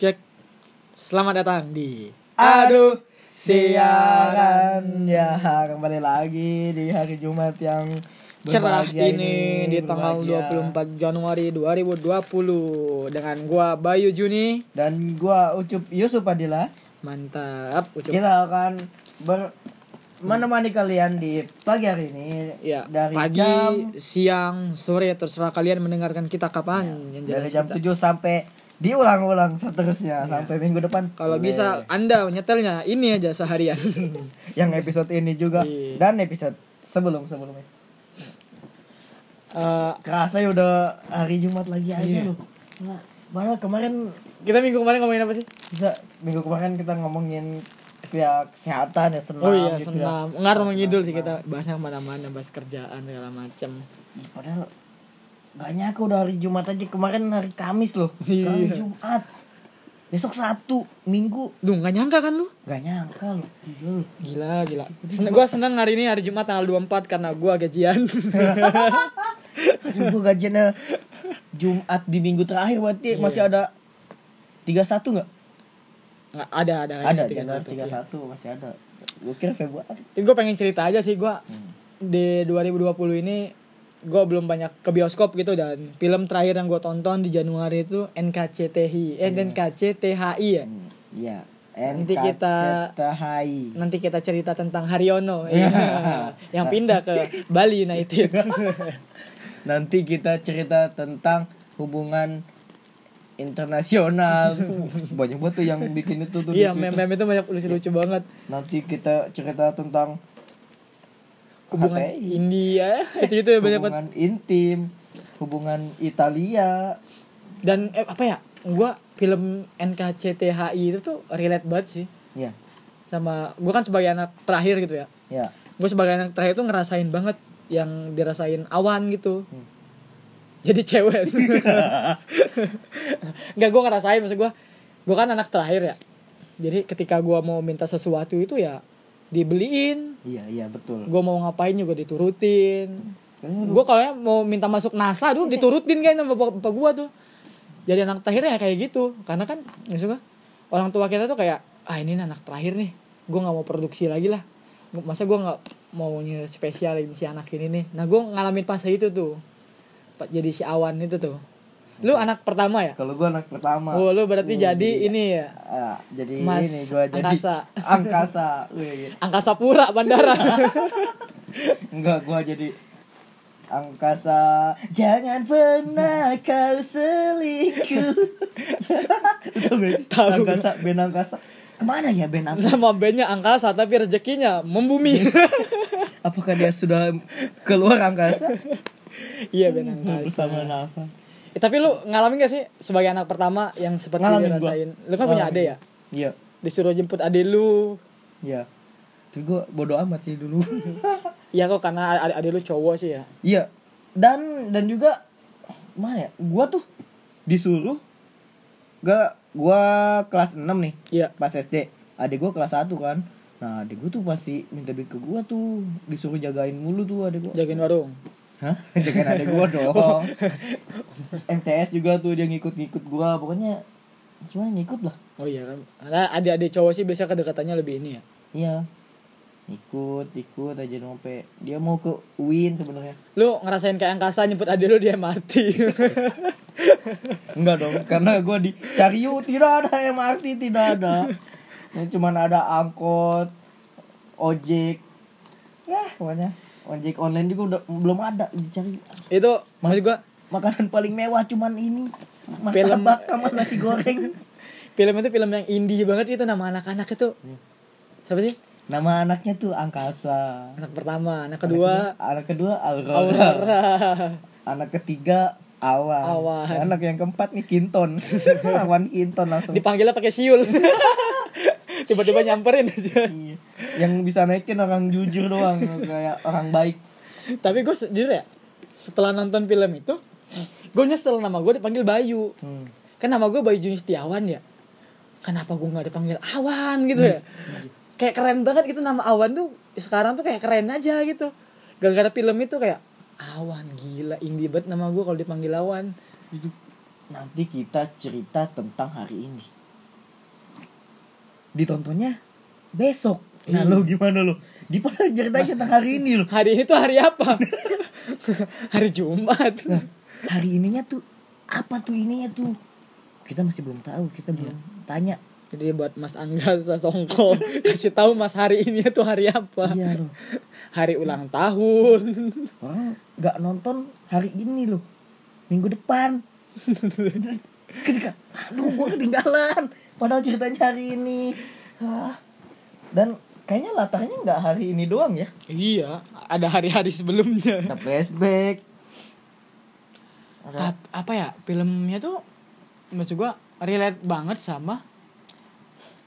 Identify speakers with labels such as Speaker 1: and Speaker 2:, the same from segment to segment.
Speaker 1: Cek. Selamat datang di
Speaker 2: Aduh siaran ya kembali lagi di hari Jumat yang
Speaker 1: cerah
Speaker 2: berbahagia
Speaker 1: ini di tanggal
Speaker 2: berbahagia.
Speaker 1: 24 Januari 2020 dengan gua Bayu Juni.
Speaker 2: dan gua Ucup Yusuf Adila
Speaker 1: Mantap, Ucup.
Speaker 2: kita akan ber menemani kalian di pagi hari ini
Speaker 1: Ya,
Speaker 2: dari
Speaker 1: pagi,
Speaker 2: jam
Speaker 1: siang, sore terserah kalian mendengarkan kita kapan. yang
Speaker 2: Ya, dari
Speaker 1: jelas
Speaker 2: jam
Speaker 1: kita- Iya.
Speaker 2: 7 sampai diulang-ulang seterusnya sampai minggu depan
Speaker 1: Kalau
Speaker 2: Boleh.
Speaker 1: bisa Anda nyetelnya ini aja seharian.
Speaker 2: yang episode ini juga
Speaker 1: Iya.
Speaker 2: dan episode sebelum-sebelumnya
Speaker 1: Eh,
Speaker 2: kerasa ya udah hari Jumat lagi aja
Speaker 1: Iya.
Speaker 2: loh Nah, malah kemarin
Speaker 1: kita minggu kemarin ngomongin apa sih?
Speaker 2: kita minggu kemarin kita ngomongin ya kesehatan ya senam
Speaker 1: Oh iya,
Speaker 2: gitu ya.
Speaker 1: senam. Ngar ngidul sih kita bahasnya kemana-mana, bahas kerjaan segala macam.
Speaker 2: Ih, padahal gak nyangka udah hari Jumat aja kemarin hari Kamis loh sekarang
Speaker 1: Iya.
Speaker 2: Jumat besok Sabtu Minggu
Speaker 1: Duh, nggak nyangka kan lu?
Speaker 2: gak nyangka loh Gila lu.
Speaker 1: Gila, gila. Sen gue seneng hari ini hari Jumat tanggal 24 karena gue gajian.
Speaker 2: Sumpah gajiannya ya. Jumat di minggu terakhir berarti
Speaker 1: Iya.
Speaker 2: masih ada 31 gak?
Speaker 1: Nggak, ada, ada.
Speaker 2: ada Januari
Speaker 1: iya.
Speaker 2: 31 masih ada gue kira Februari
Speaker 1: Gue pengen cerita aja sih gue
Speaker 2: Hmm.
Speaker 1: di 2020 ini gue belum banyak ke bioskop gitu dan film terakhir yang gue tonton di Januari itu NKCTHI, eh NKCTHI ya.
Speaker 2: Iya. Hmm, iya
Speaker 1: Nanti kita-
Speaker 2: NKCTHI.
Speaker 1: Nanti kita cerita tentang Haryono iya. yang pindah ke Bali United.
Speaker 2: Nanti kita cerita tentang hubungan internasional. Banyak banget tuh yang bikin itu tuh. di
Speaker 1: Iya,
Speaker 2: Twitter.
Speaker 1: meme-meme itu banyak lucu-lucu banget.
Speaker 2: Nanti kita cerita tentang
Speaker 1: Hubungan
Speaker 2: HTI,
Speaker 1: India itu itu ya banyak banget.
Speaker 2: hubungan intim, hubungan Italia.
Speaker 1: dan eh, apa ya gua film NKCTHI itu tuh relate banget sih
Speaker 2: Ya,
Speaker 1: sama gua kan sebagai anak terakhir gitu ya
Speaker 2: ya.
Speaker 1: gue sebagai anak terakhir tuh ngerasain banget yang dirasain awan gitu jadi cewek nggak gue ngerasain maksud gue gue kan anak terakhir ya jadi ketika gua mau minta sesuatu itu ya dibeliin
Speaker 2: Iya, iya betul.
Speaker 1: gue mau ngapain juga diturutin
Speaker 2: Kayaknya
Speaker 1: gue kalau mau minta masuk NASA dulu diturutin kan sama bapak, bapak gue tuh jadi anak terakhir ya kayak gitu karena kan maksudnya orang tua kita tuh kayak ah ini anak terakhir nih gue nggak mau produksi lagi lah Gua- masa gue nggak mau spesialin si anak ini nih nah gue ngalamin fase itu tuh Pa- jadi si awan itu tuh lu anak pertama ya
Speaker 2: Kalau gua anak pertama. Iya,
Speaker 1: oh lu berarti jadi ini ya
Speaker 2: Ah, jadi
Speaker 1: Mas
Speaker 2: ini gua jadi
Speaker 1: angkasa.
Speaker 2: angkasa. Wih, iya.
Speaker 1: angkasa pura bandara
Speaker 2: Enggak, gua jadi angkasa. Jangan pernah kau selingkuh. Tahu gak sih?
Speaker 1: Tahu.
Speaker 2: Angkasa, band angkasa. Kemana ya band angkasa?
Speaker 1: nama bandnya angkasa tapi rezekinya membumi
Speaker 2: Apakah dia sudah keluar angkasa
Speaker 1: iya band angkasa
Speaker 2: bersama NASA?
Speaker 1: Eh, tapi lu ngalamin gak sih sebagai anak pertama yang seperti
Speaker 2: Ngalamin gua.
Speaker 1: dirasain? Lu kan punya
Speaker 2: Ngalamin
Speaker 1: ade ya?
Speaker 2: Iya,
Speaker 1: Disuruh jemput ade lu.
Speaker 2: iya. Tapi gua bodo amat sih dulu.
Speaker 1: Iya kok karena ade, ade lu cowok sih ya.
Speaker 2: Iya. Dan dan juga mana ya? Gua tuh disuruh gak gua kelas 6 nih.
Speaker 1: Iya.
Speaker 2: pas SD adik gue kelas 1 kan nah adik gue tuh pasti minta duit ke gue tuh disuruh jagain mulu tuh adik gue
Speaker 1: Jagain warung.
Speaker 2: hah jagain adik gue dong MTS juga tuh dia ngikut-ngikut gue pokoknya cuma ngikut lah
Speaker 1: Oh iya kan. Karena ade-ade cowok sih biasa kedekatannya lebih ini ya.
Speaker 2: iya ikut ikut aja sampai dia mau ke Uin sebenarnya
Speaker 1: Lu ngerasain kayak angkasa jemput ade lu di MRT.
Speaker 2: enggak dong karena gue di Cariu tidak ada MRT tidak ada Ini cuman ada angkot ojek ya pokoknya ojek online juga udah belum ada di Cariu
Speaker 1: Itu maksud gua
Speaker 2: makanan paling mewah cuman ini martabak sama nasi goreng
Speaker 1: film itu film yang indie banget itu nama anak-anak itu. Siapa sih?
Speaker 2: nama anaknya tuh angkasa
Speaker 1: Anak pertama, anak kedua
Speaker 2: anak kedua aurora
Speaker 1: Aurora.
Speaker 2: anak ketiga awan.
Speaker 1: Awan.
Speaker 2: anak yang keempat nih kinton awan kinton langsung
Speaker 1: Dipanggilnya pakai siul. Tiba-tiba nyamperin aja.
Speaker 2: Iya. yang bisa naikin orang jujur doang kayak orang baik
Speaker 1: tapi gue jujur ya setelah nonton film itu gue nyesel nama gue dipanggil Bayu
Speaker 2: Hmm.
Speaker 1: kan nama gue Bayu Juni Setiawan ya kenapa gue nggak dipanggil Awan gitu ya
Speaker 2: Hmm.
Speaker 1: kayak keren banget gitu nama Awan tuh sekarang tuh kayak keren aja gitu gara-gara film itu kayak Awan gila indie banget nama gue kalau dipanggil Awan
Speaker 2: nanti kita cerita tentang hari ini ditontonnya besok nah lo gimana lo di padahal ceritanya tentang hari ini lo
Speaker 1: Hari ini tuh hari apa? hari Jumat.
Speaker 2: hari ininya tuh apa tuh ininya tuh kita masih belum tahu kita belum tanya
Speaker 1: Jadi buat Mas Angga Sasongko kasih tahu Mas hari ini tuh hari apa?
Speaker 2: iya lo
Speaker 1: Hari ulang tahun.
Speaker 2: orang nggak nonton hari ini loh minggu depan ketika aduh gue ketinggalan padahal ceritanya hari ini Hah. dan kayaknya latarnya nggak hari ini doang ya
Speaker 1: iya, ada hari-hari sebelumnya.
Speaker 2: ada flashback ada
Speaker 1: Ap- apa ya? Filmnya tuh maksud gua relate banget sama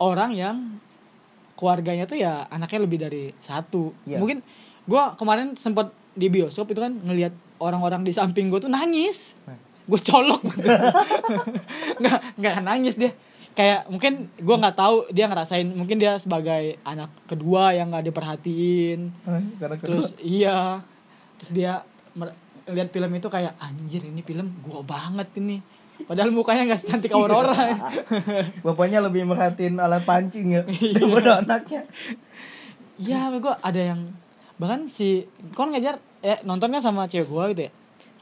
Speaker 1: orang yang keluarganya tuh ya anaknya lebih dari satu.
Speaker 2: Iya.
Speaker 1: Mungkin gua kemarin sempat di bioskop itu kan ngelihat orang-orang di samping gua tuh nangis.
Speaker 2: Nah.
Speaker 1: gue colok nggak nggak nangis dia kayak mungkin gue nggak tahu dia ngerasain mungkin dia sebagai anak kedua yang nggak diperhatiin
Speaker 2: Eh, karena kedua.
Speaker 1: terus iya terus dia mer- lihat film itu kayak anjir ini film gua banget ini padahal mukanya nggak secantik
Speaker 2: Iya.
Speaker 1: Aurora
Speaker 2: bapaknya lebih merhatiin alat pancing ya daripada anaknya
Speaker 1: iya gue ada yang bahkan si kon ngajar eh nontonnya sama cewek gue gitu ya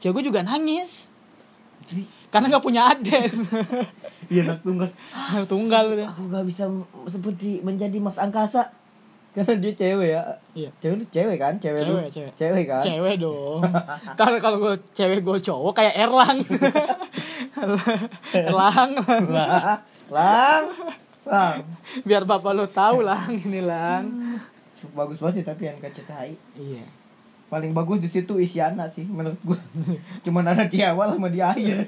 Speaker 1: cewek gue juga nangis
Speaker 2: jadi
Speaker 1: karena nggak punya adik
Speaker 2: iya anak tunggal
Speaker 1: tunggal dia
Speaker 2: aku nggak bisa m- seperti menjadi mas angkasa karena dia cewek ya
Speaker 1: iya
Speaker 2: cewek lu cewek kan cewek, lu?
Speaker 1: Cewek, cewek.
Speaker 2: kan
Speaker 1: Cewek dong. Ntar kalau gue cewek gue cowok kayak Erlang. Erlang.
Speaker 2: lah lang lang
Speaker 1: Biar bapak lo tahu lang ini lang.
Speaker 2: bagus banget sih tapi NKCTHI
Speaker 1: Iya.
Speaker 2: paling bagus di situ Isyana sih menurut gua cuman ada di awal sama di akhir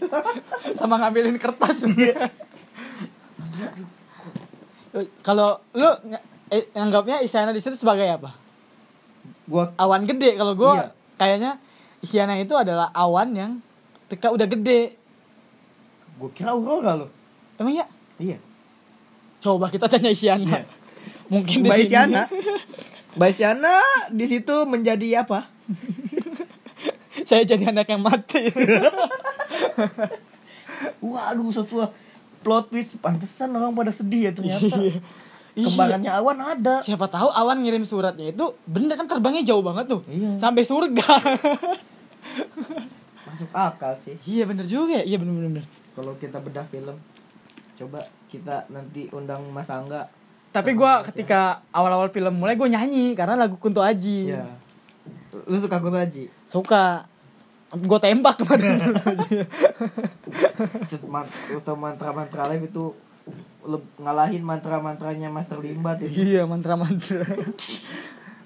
Speaker 1: Sama ngambilin kertas. kalau lu ng- eh, anggapnya Isyana di situ sebagai apa?
Speaker 2: gua
Speaker 1: Awan gede kalau gue
Speaker 2: Iya.
Speaker 1: kayaknya Isyana itu adalah awan yang ketika udah gede.
Speaker 2: gua kira Aurora lo
Speaker 1: Emang ya?
Speaker 2: iya
Speaker 1: Coba kita tanya Isyana.
Speaker 2: Iya.
Speaker 1: Mungkin di
Speaker 2: Mbak
Speaker 1: sini.
Speaker 2: Isyana Mbak Isyana di situ menjadi apa
Speaker 1: saya jadi anak yang mati
Speaker 2: waduh sesuatu plot twist pantesan orang pada sedih ya ternyata kembarannya awan ada
Speaker 1: Iya. siapa tahu awan ngirim suratnya itu bener kan terbangnya jauh banget tuh
Speaker 2: Iya.
Speaker 1: sampai surga
Speaker 2: masuk akal sih
Speaker 1: iya bener juga ya. iya bener bener, bener.
Speaker 2: kalau kita bedah film coba kita nanti undang Mas Angga
Speaker 1: tapi gue ketika awal awal film mulai gue nyanyi karena lagu Kunto Aji
Speaker 2: ya lu suka Kunto Aji
Speaker 1: suka gue tembak kemarin
Speaker 2: atau mantra-mantra live itu leb- ngalahin mantra-mantranya Master Limbat itu
Speaker 1: iya mantra mantra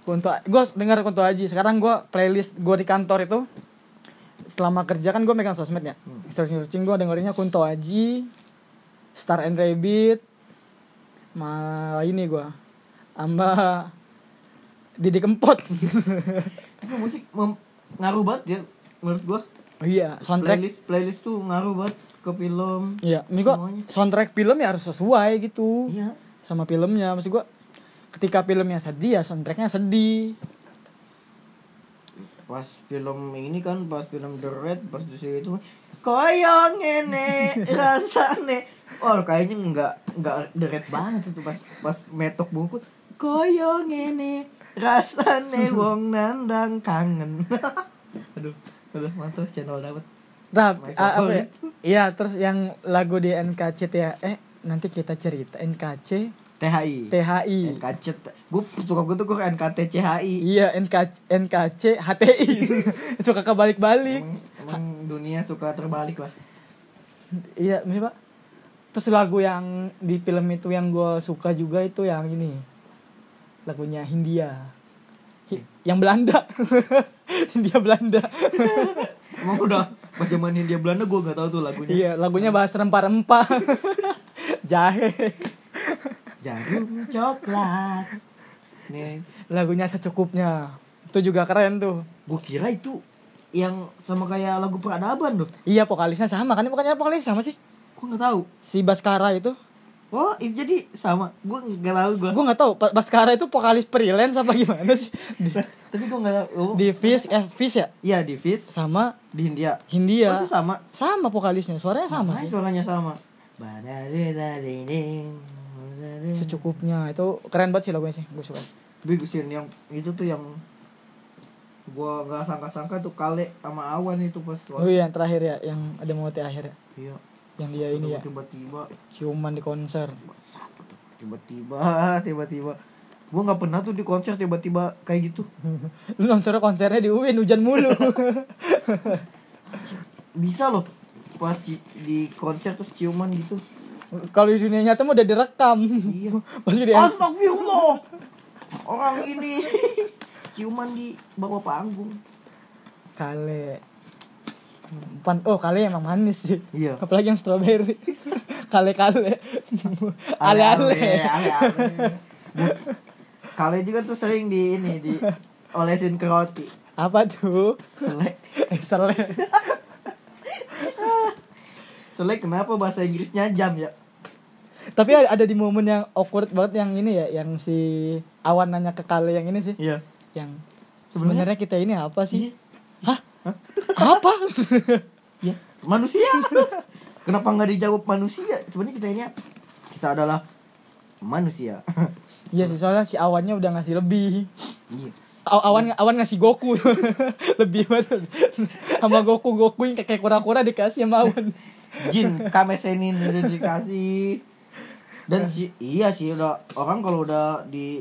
Speaker 1: Kunto gue dengar Kunto Aji sekarang gue playlist gue di kantor itu selama kerja kan gue megang sosmed ya searching searching gue dengerinnya Kunto Aji Star and Rabbit ma ini gue sama Didi Kempot
Speaker 2: itu musik mem- ngaruh banget ya menurut gua
Speaker 1: iya soundtrack
Speaker 2: playlist playlist tuh ngaruh banget ke film
Speaker 1: iya ini gua
Speaker 2: Semuanya.
Speaker 1: soundtrack film ya harus sesuai gitu
Speaker 2: iya
Speaker 1: sama filmnya maksud gue ketika filmnya sedih ya soundtracknya sedih
Speaker 2: pas film ini kan pas film The Red pas di situ itu koyong ini rasane oh kayaknya nggak nggak The Red banget itu pas pas metok bungkut koyong ini rasane wong nandang kangen aduh udah mantap channel dapat
Speaker 1: Tapi
Speaker 2: My
Speaker 1: ah, apa ya?
Speaker 2: favorite.
Speaker 1: Iya, terus yang lagu di NKC ya eh nanti kita cerita NKC
Speaker 2: THI
Speaker 1: THI.
Speaker 2: NKC gue suka gue tuh gue NKT CHI
Speaker 1: Iya, NKC NKC HTI. Suka kebalik-balik.
Speaker 2: emang, emang dunia suka terbalik lah
Speaker 1: Iya, maksudnya Pak. Terus lagu yang di film itu yang gue suka juga itu yang ini. Lagunya Hindia. Hi- yang Belanda. Hindia Belanda.
Speaker 2: emang udah pas zaman Hindia Belanda gue nggak tahu tuh lagunya
Speaker 1: iya, lagunya bahas rempah-rempah. Jahe.
Speaker 2: jarum coklat nih
Speaker 1: Lagunya secukupnya. Itu juga keren tuh.
Speaker 2: gue kira itu yang sama kayak lagu peradaban loh
Speaker 1: Iya vokalisnya sama kan? Bukannya vokalis sama sih?
Speaker 2: gue nggak tahu
Speaker 1: Si Baskara itu.
Speaker 2: oh itu jadi sama gue nggak tahu gue
Speaker 1: Gue nggak tahu Pa- Baskara itu vokalis freelance apa gimana sih? Di,
Speaker 2: tapi gue nggak tahu oh,
Speaker 1: di Fish eh Fish ya
Speaker 2: iya di Fis
Speaker 1: sama
Speaker 2: di India
Speaker 1: Hindia.
Speaker 2: oh, itu sama
Speaker 1: Iya. Sama vokalisnya, suaranya sama
Speaker 2: Makanya
Speaker 1: sih.
Speaker 2: suaranya sama Badari dadiding,
Speaker 1: secukupnya itu keren banget sih lagunya sih gue suka
Speaker 2: Tapi Gusin yang itu tuh yang gua nggak sangka-sangka tuh kale sama awan itu pas
Speaker 1: oh iya yang terakhir ya yang ada mau akhir ya
Speaker 2: Iya.
Speaker 1: yang dia ini ya
Speaker 2: tiba-tiba
Speaker 1: ciuman di konser
Speaker 2: tiba-tiba tiba-tiba gua nggak pernah tuh di konser tiba-tiba kayak gitu
Speaker 1: lu nonton konsernya di UIN hujan mulu
Speaker 2: bisa loh pas di, di konser terus ciuman gitu
Speaker 1: kalau di dunia nyata mah udah direkam
Speaker 2: iya
Speaker 1: pas di
Speaker 2: astagfirullah orang ini ciuman di bawah panggung
Speaker 1: kale Pan oh kale emang manis sih
Speaker 2: Iya.
Speaker 1: apalagi yang strawberry kale kale ale ale
Speaker 2: ale-ale. Bu- kale juga tuh sering di ini di olesin ke roti
Speaker 1: apa tuh
Speaker 2: selek
Speaker 1: eh, sele
Speaker 2: selek kenapa bahasa Inggrisnya jam ya
Speaker 1: tapi ada ada di momen yang awkward banget yang ini ya yang si awan nanya ke kale yang ini sih
Speaker 2: iya
Speaker 1: yang
Speaker 2: Sebenarnya-
Speaker 1: sebenarnya kita ini apa
Speaker 2: iya
Speaker 1: sih hah apa
Speaker 2: Iya, manusia. Kenapa nggak dijawab manusia? Sebenarnya kita ini apa? kita adalah manusia.
Speaker 1: iya sih soalnya si awannya udah ngasih lebih
Speaker 2: Iya.
Speaker 1: Aw- awan awan ngasih Goku lebih banget sama Goku Goku yang kayak kura-kura dikasih sama awan
Speaker 2: Jin kamesenin udah dikasih. Dan si iya sih udah orang kalau udah di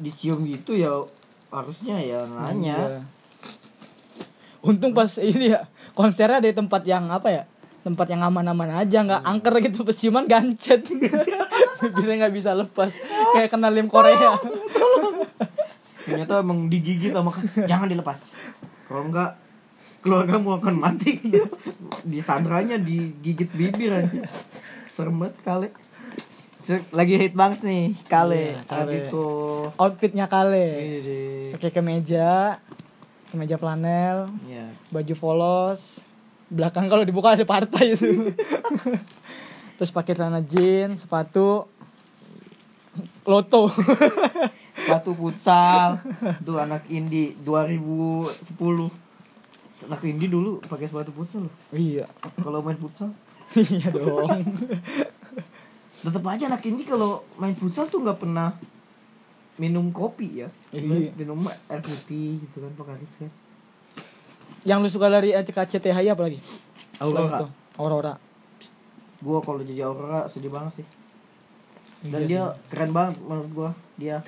Speaker 2: dicium gitu ya harusnya ya
Speaker 1: Iya.
Speaker 2: nanya.
Speaker 1: Untung pas ini ya konsernya ada di tempat yang apa ya? Tempat yang aman-aman aja,
Speaker 2: Iya.
Speaker 1: nggak angker gitu pas ciuman gancet. Bibirnya nggak bisa lepas, kayak kena lem Korea.
Speaker 2: Ternyata emang digigit sama ke- jangan dilepas. Kalau enggak keluargamu akan mati.
Speaker 1: Iya.
Speaker 2: di sandranya digigit bibir aja. Serem banget kali. Se- Lagi hit banget nih kali.
Speaker 1: Iya, Kale.
Speaker 2: Tadi tuh
Speaker 1: Outfitnya kale,
Speaker 2: ini deh.
Speaker 1: pakai kemeja, kemeja flanel,
Speaker 2: Iya.
Speaker 1: baju polos, belakang kalau dibuka ada partai itu. Terus pakai celana jeans, sepatu, loto.
Speaker 2: Batu futsal tuh anak indie 2010. Anak indie dulu pakai sepatu futsal. loh.
Speaker 1: iya,
Speaker 2: Kalau main futsal
Speaker 1: iya dong.
Speaker 2: tetap aja anak ini kalau main futsal tuh nggak pernah minum kopi ya
Speaker 1: Iya.
Speaker 2: minum air putih gitu kan pengaris kan
Speaker 1: Yang lu suka dari ACKCTHI apa lagi? Selain itu,
Speaker 2: Aurora
Speaker 1: Aurora.
Speaker 2: gua kalau jadi Aurora sedih banget sih dan
Speaker 1: Iya
Speaker 2: dia
Speaker 1: sih.
Speaker 2: keren banget menurut gua dia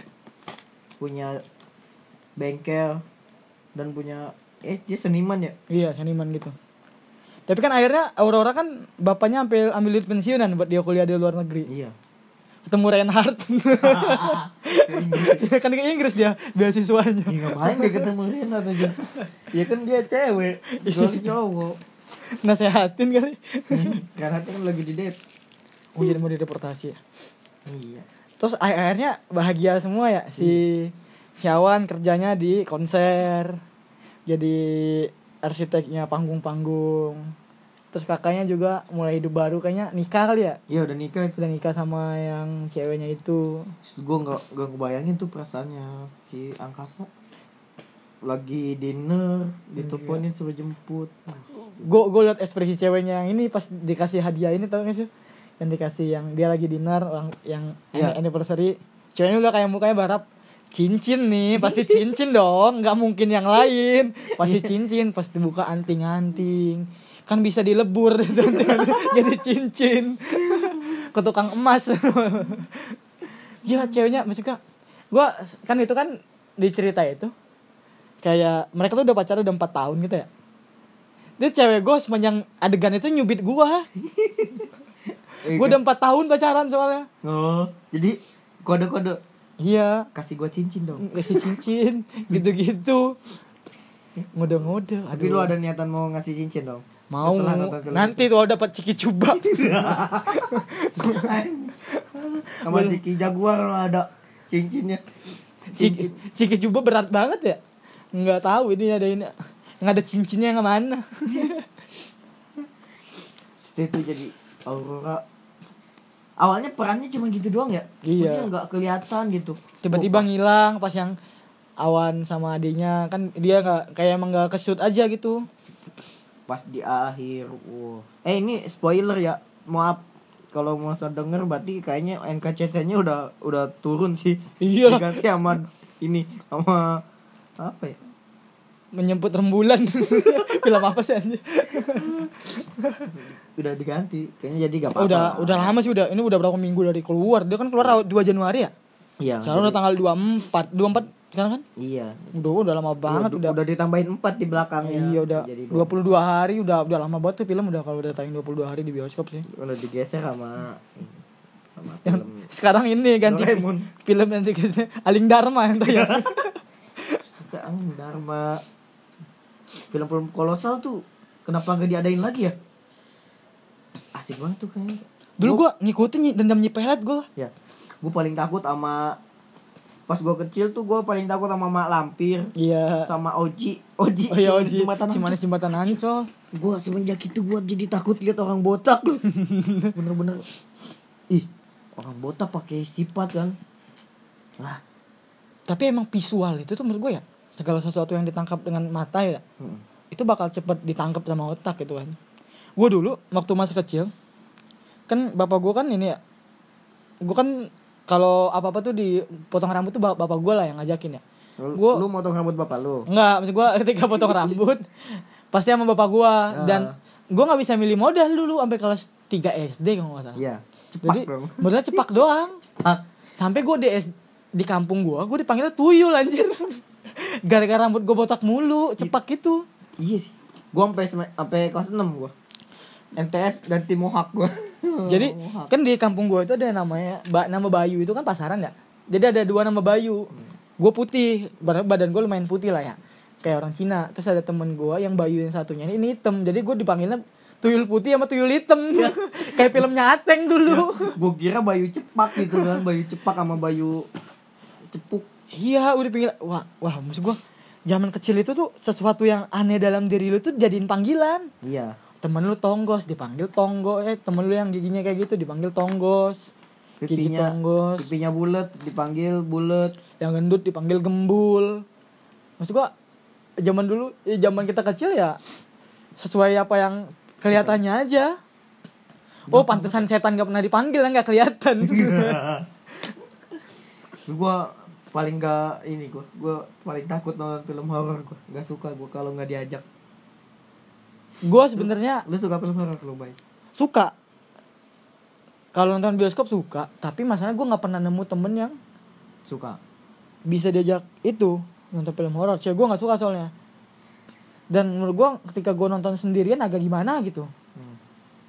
Speaker 2: punya bengkel dan punya eh dia seniman ya
Speaker 1: Iya, seniman gitu. Tapi kan akhirnya Aurora kan bapaknya ambil ambil duit pensiunan buat dia kuliah di luar negeri.
Speaker 2: iya
Speaker 1: Ketemu Reinhardt. kan ke Inggris dia beasiswanya.
Speaker 2: Ya, ngapain dia ketemu Rina aja ya kan dia cewek kecuali cowok
Speaker 1: Nasehatin kali.
Speaker 2: karena dia kan lagi di dep
Speaker 1: Oh, jadi mau dideportasi ya.
Speaker 2: iya
Speaker 1: Terus akhir- akhirnya bahagia semua ya si Siawan kerjanya di konser. Jadi arsiteknya panggung-panggung. Terus kakaknya juga mulai hidup baru kayaknya nikah kali ya.
Speaker 2: iya udah nikah
Speaker 1: Udah nikah sama yang ceweknya itu.
Speaker 2: gue nggak nggak kebayangin tuh perasaannya si angkasa lagi dinner
Speaker 1: Iya.
Speaker 2: diteleponin suruh jemput
Speaker 1: Gue gue liat ekspresi ceweknya yang ini pas dikasih hadiah ini tau gak sih? Yang dikasih yang dia lagi dinner orang- yang
Speaker 2: Iya.
Speaker 1: anniversary. Ceweknya udah kayak mukanya barap cincin nih pasti cincin dong nggak mungkin yang lain pasti cincin pas dibuka anting-anting kan bisa dilebur jadi cincin ke tukang emas ya ceweknya maksudnya gua kan itu kan di cerita itu kayak mereka tuh udah pacaran udah empat tahun gitu ya dia cewek gue sepanjang adegan itu nyubit gua
Speaker 2: eh,
Speaker 1: gue udah empat tahun pacaran soalnya
Speaker 2: oh jadi kode kode
Speaker 1: iya
Speaker 2: kasih gue cincin dong
Speaker 1: ngasih cincin gitu-gitu ngode-ngode
Speaker 2: tapi lu ada niatan mau ngasih cincin dong
Speaker 1: mau
Speaker 2: Setelah nonton film
Speaker 1: nanti tuh dapat ciki coba
Speaker 2: sama Jiki Jaguar lu ada cincinnya
Speaker 1: ciki ciki coba berat banget ya nggak tahu ini ada ini nggak ada cincinnya yang mana
Speaker 2: Setelah itu jadi Aurora awalnya perannya cuma gitu doang ya
Speaker 1: Iya.
Speaker 2: Maksudnya nggak kelihatan gitu
Speaker 1: tiba-tiba ngilang pas yang awan sama adiknya kan dia nggak kayak emang nggak kesut aja gitu
Speaker 2: pas di akhir wow. eh ini spoiler ya maaf kalau Monster denger berarti kayaknya NKCC-nya udah udah turun sih.
Speaker 1: Iya.
Speaker 2: Diganti sama ini sama apa ya?
Speaker 1: menyemput rembulan film apa sih anjir
Speaker 2: Udah diganti. Kayaknya jadi gak apa-apa.
Speaker 1: udah udah lama sih udah ini udah berapa minggu dari keluar dia kan keluar 2 Januari ya
Speaker 2: Iya.
Speaker 1: sekarang udah tanggal 24 24 sekarang kan
Speaker 2: Iya.
Speaker 1: udah udah lama banget udah
Speaker 2: udah, udah ditambahin 4 di belakangnya.
Speaker 1: iya udah
Speaker 2: Jadi
Speaker 1: 22 hari udah udah lama banget tuh film udah kalau udah tayang 22 hari di bioskop sih
Speaker 2: udah digeser sama sama film
Speaker 1: sekarang ini ganti
Speaker 2: Doraemon.
Speaker 1: film nanti kita Aling Dharma yang tayang
Speaker 2: Sekarang Dharma film-film kolosal tuh kenapa gak diadain lagi ya? Asik banget tuh kayaknya.
Speaker 1: dulu gua ngikutin dendam Nyi Pelet gua
Speaker 2: Ya, gue paling takut sama pas gue kecil tuh gue paling takut sama mak lampir
Speaker 1: iya
Speaker 2: sama Oji Oji
Speaker 1: oh iya
Speaker 2: cuma di
Speaker 1: Oji
Speaker 2: jembatan
Speaker 1: Cimana jembatan Ancol
Speaker 2: gue semenjak itu gue jadi takut lihat orang botak loh bener-bener ih orang botak pakai sifat kan lah
Speaker 1: tapi emang visual itu tuh menurut gua ya segala sesuatu yang ditangkap dengan mata ya
Speaker 2: Mm.
Speaker 1: itu bakal cepet ditangkap sama otak gitu kan gue dulu waktu masih kecil kan bapak gue kan ini ya gue kan kalau apa apa tuh dipotong rambut tuh bap- bapak gue lah yang ngajakin ya
Speaker 2: lu,
Speaker 1: Gua-
Speaker 2: lu motong rambut bapak lu
Speaker 1: nggak maksud gue ketika potong rambut pasti sama bapak gue
Speaker 2: Ah.
Speaker 1: dan gue nggak bisa milih modal dulu sampai kelas 3 SD kalau nggak salah
Speaker 2: iya cepat
Speaker 1: jadi
Speaker 2: dong
Speaker 1: bener cepak doang
Speaker 2: cepat
Speaker 1: sampai gue di S- di kampung gue gue dipanggilnya tuyul anjir gara-gara rambut gue botak mulu cepak gitu
Speaker 2: iya sih gue sampai sem- sampai kelas 6 gue MTS dan tim mohak gue
Speaker 1: Jadi kan di kampung gue itu ada yang namanya ba- nama Bayu itu kan pasaran ya. Jadi ada dua nama Bayu. Gue putih, bar- badan gue lumayan putih lah ya. Kayak orang Cina. Terus ada temen gue yang Bayu yang satunya ini, ini hitam. Jadi gue dipanggilnya tuyul putih sama tuyul hitam. Kayak filmnya Ateng dulu.
Speaker 2: gue kira Bayu cepak gitu kan Bayu cepak sama Bayu cepuk
Speaker 1: Iya, udah pinggil. Wah, wah, maksud gue zaman kecil itu tuh sesuatu yang aneh dalam diri lu tuh jadiin panggilan.
Speaker 2: iya
Speaker 1: Temen lu tonggos dipanggil tonggo, eh temen lu yang giginya kayak gitu dipanggil tonggos. Gigi
Speaker 2: pipinya
Speaker 1: tonggos.
Speaker 2: pipinya bulat dipanggil bulat
Speaker 1: yang gendut dipanggil gembul maksud gua zaman dulu eh, zaman kita kecil ya sesuai apa yang kelihatannya aja oh pantesan setan gak pernah dipanggil nggak kelihatan
Speaker 2: gue paling gak ini gue gue paling takut nonton film horor gue nggak suka gue kalau nggak diajak
Speaker 1: gua sebenarnya
Speaker 2: lu suka film horor lu baik
Speaker 1: suka kalau nonton bioskop suka tapi masalahnya gua nggak pernah nemu temen yang
Speaker 2: suka
Speaker 1: bisa diajak itu nonton film horor cewek gua nggak suka soalnya dan menurut gua ketika gua nonton sendirian agak gimana gitu
Speaker 2: Hmm.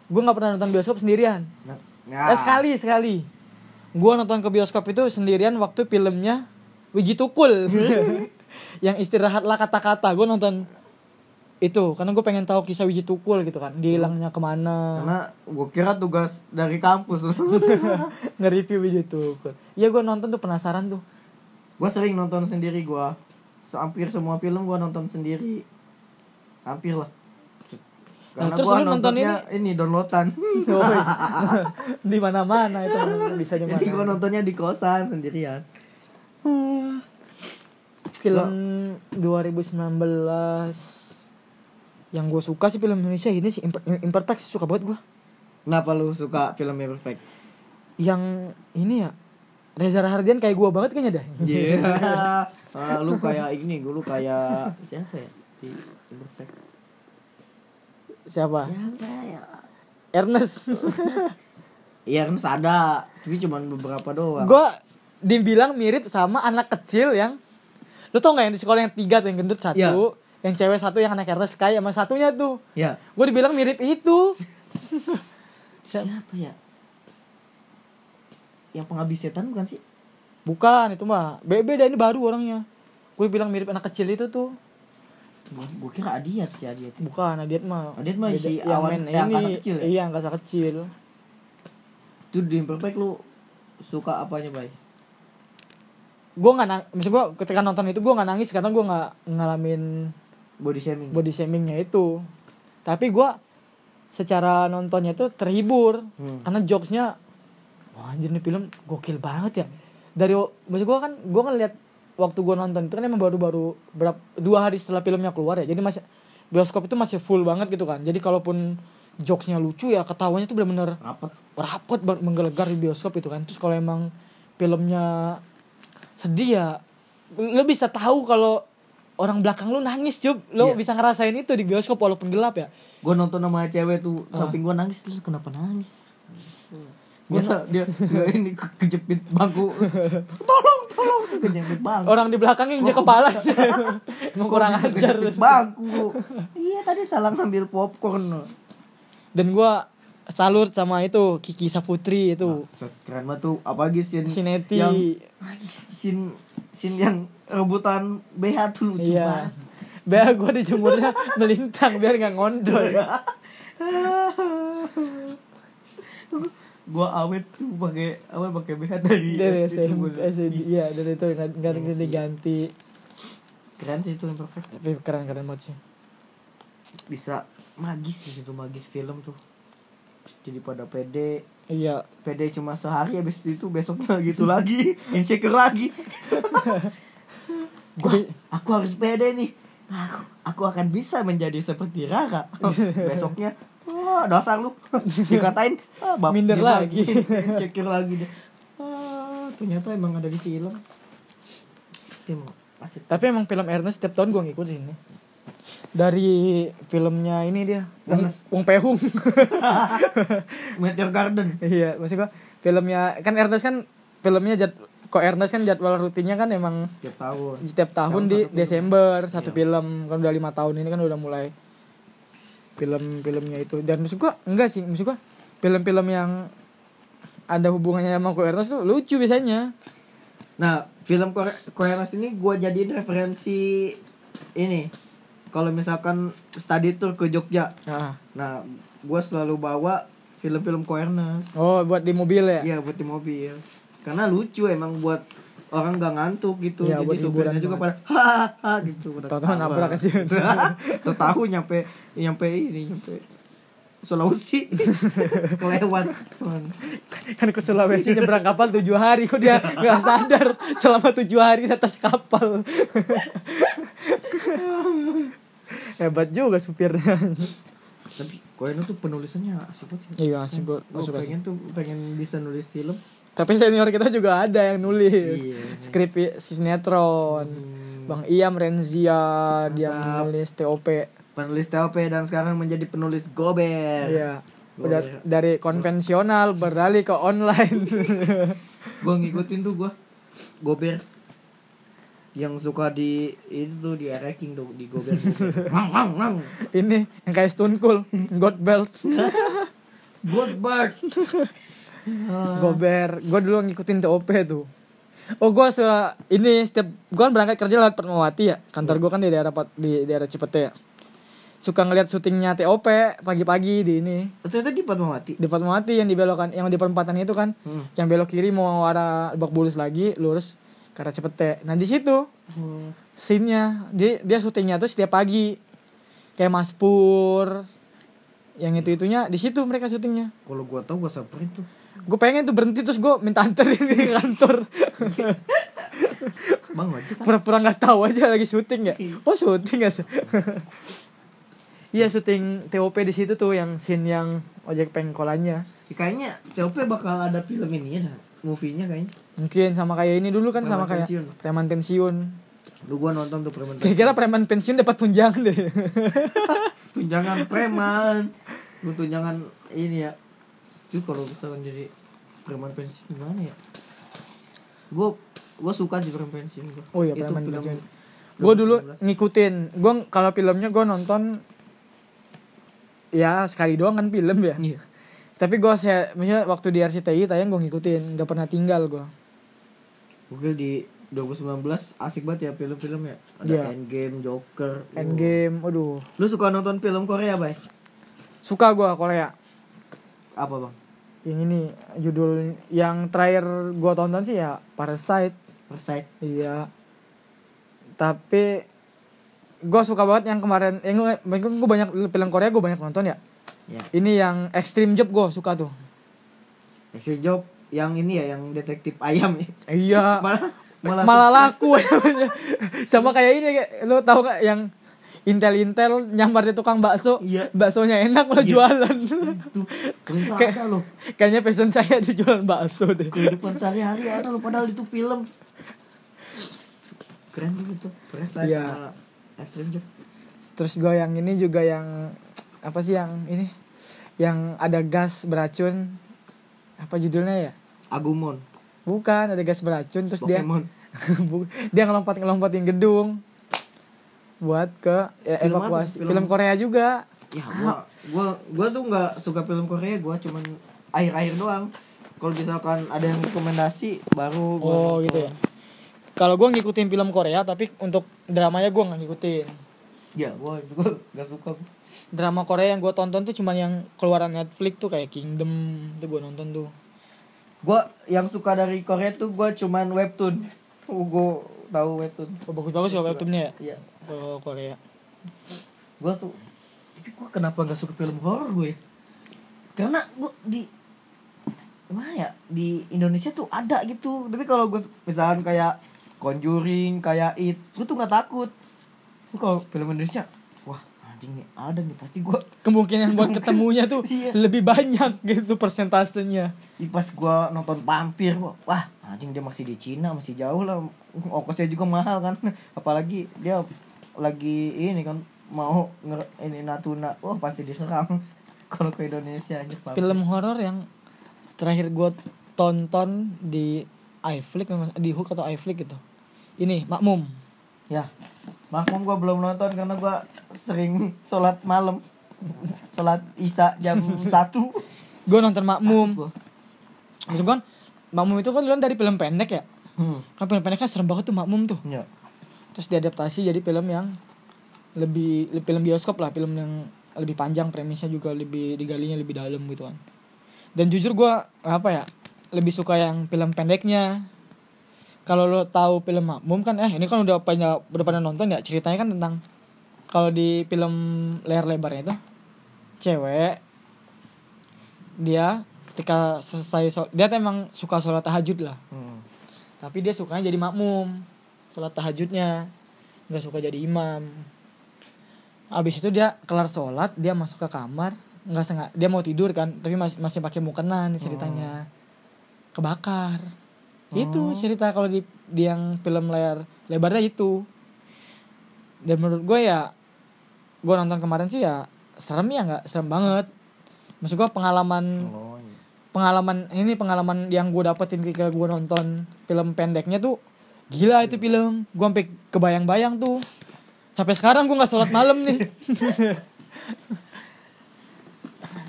Speaker 1: gua nggak pernah nonton bioskop sendirian
Speaker 2: nah,
Speaker 1: Eh, sekali sekali. Gua nonton ke bioskop itu sendirian waktu filmnya Wiji Tukul. yang istirahatlah kata-kata. Gue nonton itu karena gue pengen tahu kisah Wiji Tukul gitu kan. Dia hilangnya kemana?
Speaker 2: karena gue kira tugas dari kampus
Speaker 1: Nge-review Wiji Tukul. Iya gue nonton tuh penasaran tuh.
Speaker 2: gue sering nonton sendiri gue hampir semua film gue nonton sendiri hampir lah karena
Speaker 1: Nah, terus
Speaker 2: gua
Speaker 1: lu nonton
Speaker 2: nontonnya ini, downloadan
Speaker 1: di mana-mana itu bisa di
Speaker 2: jadi gue
Speaker 1: mana.
Speaker 2: nontonnya di kosan sendirian
Speaker 1: Film 2019 yang gue suka sih film Indonesia ini sih Imper- Imperfect sih suka banget gue.
Speaker 2: kenapa lu suka filmnya perfect
Speaker 1: yang ini ya Reza Rahardian kayak gua banget kayaknya dah.
Speaker 2: Iya. Ah, lu kayak ini, gua lu kayak siapa ya? Di Imperfect.
Speaker 1: Siapa?
Speaker 2: ya?
Speaker 1: Ernest.
Speaker 2: Iya, kan ada, tapi cuman beberapa doang.
Speaker 1: gua dibilang mirip sama anak kecil yang lu tau nggak yang di sekolah yang tiga tuh yang gendut satu,
Speaker 2: Iya.
Speaker 1: yang cewek satu, yang anak Ernest kayak sama satunya tuh.
Speaker 2: ya.
Speaker 1: Gua dibilang mirip itu.
Speaker 2: Siapa ya? Yang penghabis setan bukan sih?
Speaker 1: Bukan itu mah. Be- Beda ini baru orangnya. Gua dibilang mirip anak kecil itu tuh.
Speaker 2: Gua, gua kira ya, Adiat sih Adiat.
Speaker 1: Bukan Adiat mah.
Speaker 2: Adiat mah
Speaker 1: Beda-
Speaker 2: si
Speaker 1: yang main
Speaker 2: awan- yang angkasa
Speaker 1: ini.
Speaker 2: kecil ya?
Speaker 1: Iya, angkasa kecil.
Speaker 2: Itu di Imperfect lu suka apanya, Bay?
Speaker 1: Gua nggak nang- maksud gua ketika nonton itu gua nggak nangis karena gua nggak ngalamin
Speaker 2: Body shaming.
Speaker 1: body shamingnya itu tapi gua secara nontonnya itu terhibur
Speaker 2: Hmm.
Speaker 1: karena jokesnya wah anjir nih film gokil banget ya dari maksud gua kan gua kan lihat waktu gua nonton itu kan emang baru-baru berapa dua hari setelah filmnya keluar ya jadi masih bioskop itu masih full banget gitu kan jadi kalaupun jokesnya lucu ya ketawanya tuh bener-bener
Speaker 2: Rapet.
Speaker 1: rapet banget, menggelegar di bioskop itu kan terus kalau emang filmnya sedih ya lo bisa tahu kalau orang belakang lu nangis Jub lo
Speaker 2: Iya.
Speaker 1: bisa ngerasain itu di bioskop walaupun gelap ya
Speaker 2: Gue nonton sama cewek tuh
Speaker 1: Ah.
Speaker 2: samping gue nangis lu kenapa nangis?
Speaker 1: Hmm.
Speaker 2: Biasa dia, dia ini ke- kejepit bangku. Tolong, tolong. Kejepit bangku.
Speaker 1: orang di belakang yang injek kepala mau kurang
Speaker 2: Kok
Speaker 1: ajar
Speaker 2: kejepit Bangku. Iya tadi salah ngambil popcorn.
Speaker 1: dan gua salut sama itu Kiki Saputri itu
Speaker 2: Keren banget tuh apalagi scene
Speaker 1: Sineti
Speaker 2: yang scene scene yang rebutan BH tuh lucu
Speaker 1: iya
Speaker 2: banget.
Speaker 1: biar gua dijemurnya melintang biar nggak ngondol
Speaker 2: gua awet tuh pakai awet pakai BH dari
Speaker 1: dari
Speaker 2: SD tuh
Speaker 1: SMP
Speaker 2: gua.
Speaker 1: SD iya dari itu nggak nggak nggak diganti
Speaker 2: keren sih itu yang perfect
Speaker 1: tapi keren keren banget sih
Speaker 2: bisa magis sih itu magis film tuh jadi pada pede
Speaker 1: iya
Speaker 2: pede cuma sehari habis itu besoknya gitu lagi insecure lagi
Speaker 1: gua
Speaker 2: aku harus pede nih aku aku akan bisa menjadi seperti Rara besoknya wah dasar lu dikatain ah, bab-
Speaker 1: Minder
Speaker 2: dia
Speaker 1: lagi.
Speaker 2: insecure lagi deh ah, ternyata emang ada di film film asik
Speaker 1: tapi emang film Ernest setiap tahun gua ngikutin ini dari filmnya ini dia Wong,
Speaker 2: Ernest.
Speaker 1: Wong Pehung
Speaker 2: Meteor Garden
Speaker 1: iya maksud gua filmnya kan Ernest kan filmnya jad kok Ernest kan jadwal rutinnya kan emang
Speaker 2: tiap tahun
Speaker 1: setiap tahun
Speaker 2: Tahun
Speaker 1: di
Speaker 2: satu film.
Speaker 1: Desember satu
Speaker 2: Iya.
Speaker 1: film kan udah lima tahun ini kan udah mulai film-filmnya itu dan maksud gua enggak sih maksud gua film-film yang ada hubungannya sama Ko Ernest tuh lucu biasanya
Speaker 2: nah film Kore- Koreanas ini gua jadiin referensi ini kalau misalkan study tour ke Jogja
Speaker 1: ah.
Speaker 2: nah gua selalu bawa film-film Koreanas
Speaker 1: oh buat di mobil ya
Speaker 2: Iya buat di mobil. Karena lucu emang buat orang gak ngantuk gitu.
Speaker 1: Iya, buat
Speaker 2: Jadi supirnya
Speaker 1: hiburan
Speaker 2: juga pada hahaha gitu. pada
Speaker 1: Tahu-tahu
Speaker 2: ketawa.
Speaker 1: nabrak aja.
Speaker 2: Tahu-tahu nyampe nyampe ini nyampe Sulawesi kelewat.
Speaker 1: kan ke Sulawesi nyebrang kapal tujuh hari kok dia nggak sadar selama tujuh hari di atas kapal hebat juga supirnya
Speaker 2: Tapi Koeno tuh penulisannya asik banget.
Speaker 1: iya sih gua
Speaker 2: Gue
Speaker 1: gua suka sih
Speaker 2: pengen tuh pengen bisa nulis film.
Speaker 1: tapi senior kita juga ada yang nulis
Speaker 2: Iya.
Speaker 1: skrip sinetron
Speaker 2: Hmm,
Speaker 1: Bang Iam Renzia dia
Speaker 2: Mantap.
Speaker 1: nulis TOP
Speaker 2: Penulis TOP dan sekarang menjadi penulis gober.
Speaker 1: iya
Speaker 2: Gua
Speaker 1: udah
Speaker 2: ya.
Speaker 1: dari konvensional beralih ke online
Speaker 2: gue ngikutin tuh gue gober yang suka di itu tuh di ranking tuh di gober mang mang mang
Speaker 1: ini yang kayak Stone Cold God Belt
Speaker 2: good bird
Speaker 1: Gober, gue dulu ngikutin TOP tuh. Oh gue suka ini setiap gue kan berangkat kerja lewat Fatmawati ya. Kantor gue kan di daerah Pat- di daerah Cipete ya. Suka ngeliat syutingnya TOP pagi-pagi di ini
Speaker 2: ternyata di Fatmawati
Speaker 1: di Fatmawati yang di belokan yang di perempatan itu kan
Speaker 2: Hmm.
Speaker 1: yang belok kiri mau arah Lebak Bulus lagi lurus ke arah Cipete. Nah di situ
Speaker 2: Hmm.
Speaker 1: scene-nya dia dia syutingnya tuh setiap pagi kayak Mas Pur yang itu itunya di situ mereka syutingnya
Speaker 2: kalau gue tau gue samperin tuh
Speaker 1: gue pengen tuh berhenti terus gue minta anterin di kantor
Speaker 2: bang wajib
Speaker 1: pura-pura nggak tahu aja lagi syuting ya oh syuting ya sih iya syuting TOP di situ tuh yang scene yang ojek pengkolannya
Speaker 2: kayaknya TOP bakal ada film ini ya movie nya kayaknya
Speaker 1: mungkin sama kayak ini dulu kan sama kayak
Speaker 2: Preman pensiun.
Speaker 1: preman pensiun
Speaker 2: lu gue nonton tuh preman
Speaker 1: kira-kira preman pensiun dapat tunjangan deh
Speaker 2: tunjangan preman lu tunjangan ini ya itu kalau misalkan jadi preman pensiun gimana ya gue gue suka sih preman pensiun gua.
Speaker 1: oh iya
Speaker 2: Itu
Speaker 1: preman
Speaker 2: film-
Speaker 1: pensiun
Speaker 2: film
Speaker 1: gue dulu
Speaker 2: 19.
Speaker 1: ngikutin gue kalau filmnya gue nonton ya sekali doang kan film ya
Speaker 2: iya
Speaker 1: tapi gue saya misalnya waktu di RCTI tayang gue ngikutin nggak pernah tinggal gue
Speaker 2: Oh. Google di 2019 asik banget ya film-film ya ada
Speaker 1: Iya.
Speaker 2: Endgame Joker Wow.
Speaker 1: Endgame aduh
Speaker 2: lu suka nonton film Korea bay
Speaker 1: suka gue Korea
Speaker 2: apa bang
Speaker 1: yang ini judul yang terakhir gua tonton sih ya Parasite
Speaker 2: Parasite
Speaker 1: iya tapi gua suka banget yang kemarin yang gua, gua banyak film Korea gua banyak nonton ya
Speaker 2: ya
Speaker 1: ini yang Extreme Job gua suka tuh
Speaker 2: Action Job yang ini ya yang detektif ayam ya
Speaker 1: iya
Speaker 2: malah
Speaker 1: malah laku sama kayak ini kayak- lu tahu gak yang intel-intel nyamar di tukang bakso.
Speaker 2: Iya.
Speaker 1: Baksonya enak malah
Speaker 2: Iya.
Speaker 1: jualan.
Speaker 2: Tuh, ternyata
Speaker 1: Kayak-
Speaker 2: ada loh.
Speaker 1: Kayaknya passion saya ada jualan bakso deh.
Speaker 2: Kehidupan sehari-hari ada loh padahal itu film. Keren gitu. Keren
Speaker 1: Iya.
Speaker 2: Ekstrim Jok.
Speaker 1: Terus gue yang ini juga yang apa sih yang ini? Yang ada gas beracun. Apa judulnya ya?
Speaker 2: Agumon.
Speaker 1: Bukan, ada gas beracun terus dia
Speaker 2: Pokemon.
Speaker 1: Bu- dia ngelompat ngelompatin gedung buat ke ya,
Speaker 2: Film apa?
Speaker 1: evakuasi
Speaker 2: Film-
Speaker 1: film, Korea juga
Speaker 2: Ya, gua gua gua tuh nggak suka film Korea, gua cuman air-air doang. Kalau misalkan ada yang rekomendasi baru gua
Speaker 1: oh
Speaker 2: nonton.
Speaker 1: gitu ya kalau gue ngikutin film Korea tapi untuk dramanya gue nggak ngikutin
Speaker 2: Ya, gua juga nggak suka.
Speaker 1: drama Korea yang gue tonton tuh cuman yang keluaran Netflix tuh kayak Kingdom itu gue nonton tuh
Speaker 2: Gua yang suka dari Korea tuh gua cuman webtoon. Gua tahu webtoon.
Speaker 1: oh, bagus-bagus ya webtoonnya ya
Speaker 2: Iya.
Speaker 1: kalau Korea
Speaker 2: Gua tuh tapi gua kenapa nggak suka film horor gue ya? Karena gua di Gimana ya? Di Indonesia tuh ada gitu. Tapi kalau gua misalkan kayak Conjuring, kayak It, gua tuh nggak takut. Tapi kalau film Indonesia, wah anjing nih ada nih pasti gua
Speaker 1: kemungkinan buat ketemunya tuh
Speaker 2: Iya.
Speaker 1: lebih banyak gitu persentasenya
Speaker 2: Ih, pas gua nonton vampir gua, wah anjing dia masih di Cina masih jauh lah ongkosnya juga mahal kan apalagi dia lagi ini kan mau nger ini Natuna wah pasti diserang kalau ke Indonesia aja
Speaker 1: film horor yang terakhir gue tonton di iFlix memang- di Hook atau iFlix gitu ini Makmum
Speaker 2: ya makmum gua belum nonton karena gua sering sholat malam sholat isya jam 1
Speaker 1: gue nonton Makmum
Speaker 2: gua
Speaker 1: maksud gue Makmum itu kan duluan dari film pendek ya
Speaker 2: hmm.
Speaker 1: kan film pendeknya serem banget tuh Makmum tuh
Speaker 2: ya
Speaker 1: terus diadaptasi jadi film yang lebih le- film bioskop lah film yang lebih panjang premisnya juga lebih digalinya lebih dalam gitu kan dan jujur gue apa ya lebih suka yang film pendeknya kalau lo tahu film Makmum kan eh ini kan udah pada udah pada nonton ya ceritanya kan tentang kalau di film layar lebarnya itu cewek dia ketika selesai shol- dia tuh emang suka sholat tahajud lah
Speaker 2: hmm.
Speaker 1: tapi dia sukanya jadi makmum sholat tahajudnya nggak suka jadi imam abis itu dia kelar sholat dia masuk ke kamar nggak sengaja dia mau tidur kan tapi masih masih pakai mukena nih ceritanya kebakar itu
Speaker 2: Oh.
Speaker 1: cerita kalau di, di yang film layar lebarnya itu dan menurut gue ya gue nonton kemarin sih ya serem ya nggak serem banget maksud gue pengalaman
Speaker 2: Oh, iya.
Speaker 1: pengalaman ini pengalaman yang gue dapetin ketika gue nonton film pendeknya tuh gila itu film gue sampai kebayang-bayang tuh sampai sekarang gue nggak sholat malam nih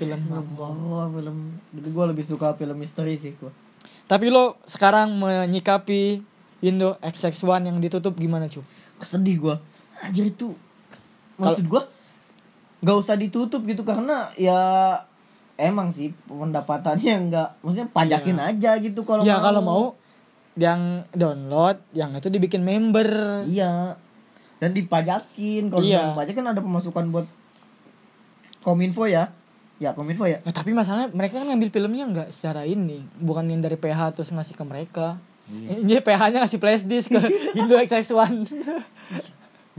Speaker 1: film
Speaker 2: film horor film gitu gua lebih suka film misteri sih gua
Speaker 1: tapi lo sekarang menyikapi Indo XX1 yang ditutup gimana cuy
Speaker 2: sedih gua anjir itu maksud gua nggak usah ditutup gitu karena ya emang sih pendapatannya nggak maksudnya pajakin aja gitu kalau
Speaker 1: ya Iya. kalau mau yang download yang itu dibikin member
Speaker 2: iya dan dipajakin kalau
Speaker 1: Iya.
Speaker 2: iya. pajak kan ada pemasukan buat kominfo ya ya kominfo ya
Speaker 1: Nah, tapi masalahnya mereka kan ngambil filmnya nggak secara ini, bukan yang dari PH terus ngasih ke mereka. Ini PH-nya ngasih flash disk ke Indo XX1.
Speaker 2: Nih,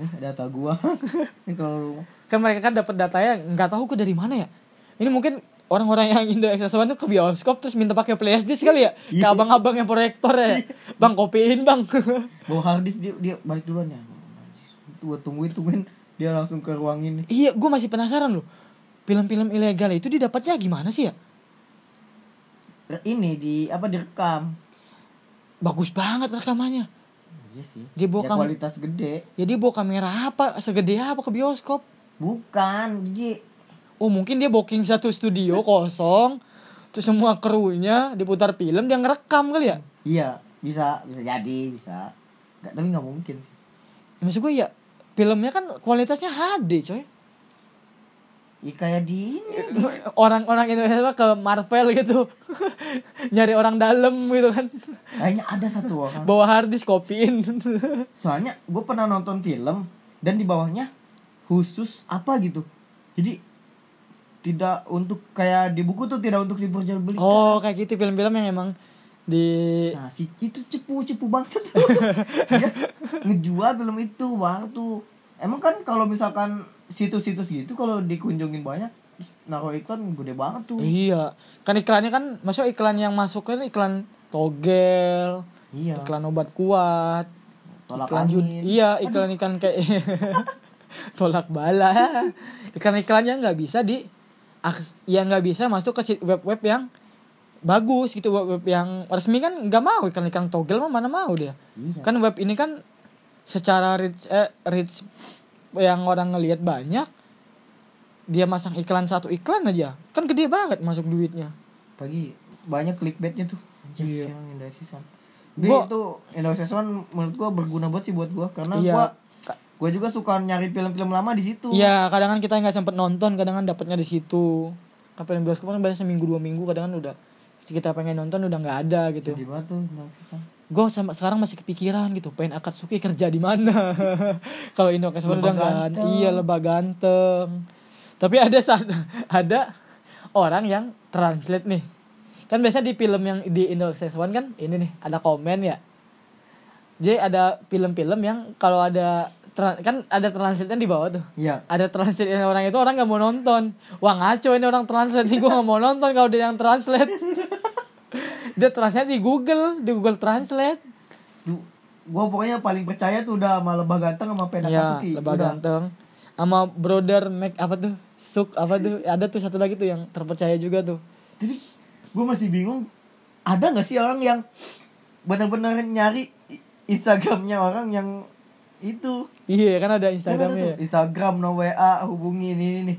Speaker 2: Eh, data gua ini kalau
Speaker 1: kan mereka kan dapat datanya nggak tahu gue dari mana ya. Ini mungkin orang-orang yang Indo XX1 tuh ke bioskop terus minta pakai flash disk kali ya. Ke abang-abang yang proyektor ya. Bang kopiin, Bang.
Speaker 2: bawa harddisk dia, dia balik duluan ya gua tungguin tungguin dia langsung ke ruang ini
Speaker 1: iya, gue masih penasaran loh. Film-film ilegal itu didapatnya gimana sih ya?
Speaker 2: ini di apa direkam
Speaker 1: Bagus banget rekamannya.
Speaker 2: iya sih
Speaker 1: Dia bawa
Speaker 2: Ya,
Speaker 1: kam-
Speaker 2: kualitas gede
Speaker 1: Jadi bawa kamera apa, segede apa ke bioskop?
Speaker 2: Bukan, Ji.
Speaker 1: Oh mungkin dia booking satu studio kosong Terus semua krunya diputar film dia ngerekam kali ya
Speaker 2: Iya, bisa bisa jadi, bisa. Nggak, tapi nggak mungkin sih.
Speaker 1: Ya, Maksud gue ya filmnya kan kualitasnya HD coy
Speaker 2: Ya, kayak di ini.
Speaker 1: Orang-orang Indonesia ke Marvel gitu Nyari orang dalam gitu kan
Speaker 2: Kayaknya ada satu orang.
Speaker 1: Bawa harddisk kopiin
Speaker 2: Soalnya gue pernah nonton film dan di bawahnya khusus apa gitu. Jadi tidak untuk kayak di buku tuh tidak untuk diperjualbelikan.
Speaker 1: Oh kayak gitu film-film yang emang di
Speaker 2: Nah, si itu cepu-cepu banget tuh. Dia ngejual film itu, bang tuh. Emang kan kalau misalkan situs-situs gitu kalau dikunjungin banyak terus naruh iklan gede banget tuh.
Speaker 1: Iya, kan iklannya kan masuk iklan yang masuk kan iklan togel,
Speaker 2: Iya.
Speaker 1: iklan obat kuat,
Speaker 2: Tolak
Speaker 1: iklan jud-
Speaker 2: angin.
Speaker 1: iya iklan iklan kayak tolak bala, iklan iklannya nggak bisa di aks- yang nggak bisa masuk ke sit- web-web yang bagus gitu web-web yang resmi kan nggak mau iklan iklan togel mah mana mau dia,
Speaker 2: Iya.
Speaker 1: kan web ini kan secara reach eh, reach yang orang ngelihat banyak dia masang iklan satu iklan aja kan gede banget masuk duitnya
Speaker 2: Pagi banyak clickbaitnya tuh.
Speaker 1: Iya.
Speaker 2: Yang Indonesia Sun.
Speaker 1: Gua-
Speaker 2: Gua... itu Indonesia Sun menurut gua berguna banget sih buat gua karena
Speaker 1: Iya.
Speaker 2: gua gua juga suka nyari film-film lama di situ.
Speaker 1: Iya, kadang kan kita nggak sempet nonton, kadang kan dapatnya di situ. Kapan bioskop kan biasanya seminggu dua minggu, kadang kan udah kita pengen nonton udah nggak ada gitu.
Speaker 2: Sedih banget tuh Indonesia Sun.
Speaker 1: Gue sama sekarang masih kepikiran gitu, pengen akad suki kerja di mana. Kalau Indo Kesempatan udah
Speaker 2: Lebah
Speaker 1: nggak ada.
Speaker 2: ganteng.
Speaker 1: iya lebah ganteng. Tapi ada saat ada orang yang translate nih. Kan biasanya di film yang di Indo Kesempatan kan ini nih ada komen ya. Jadi ada film-film yang kalau ada tra- kan ada translate-nya di bawah tuh
Speaker 2: Iya.
Speaker 1: ada translate yang orang itu orang nggak mau nonton wah ngaco ini orang translate nih gue nggak mau nonton kalau dia yang translate dia translate di Google di Google Translate
Speaker 2: Duh, gua pokoknya paling percaya tuh udah sama lebah ganteng sama pena
Speaker 1: ya
Speaker 2: Kasuki.
Speaker 1: lebah
Speaker 2: Udah.
Speaker 1: ganteng sama brother Mac apa tuh Suk apa tuh ada tuh satu lagi tuh yang terpercaya juga tuh
Speaker 2: Jadi gue masih bingung ada nggak sih orang yang benar-benar nyari i- Instagramnya orang yang itu
Speaker 1: iya kan ada
Speaker 2: Kan ada tuh,
Speaker 1: Instagramnya ya.
Speaker 2: Instagram no WA hubungi ini ini nih.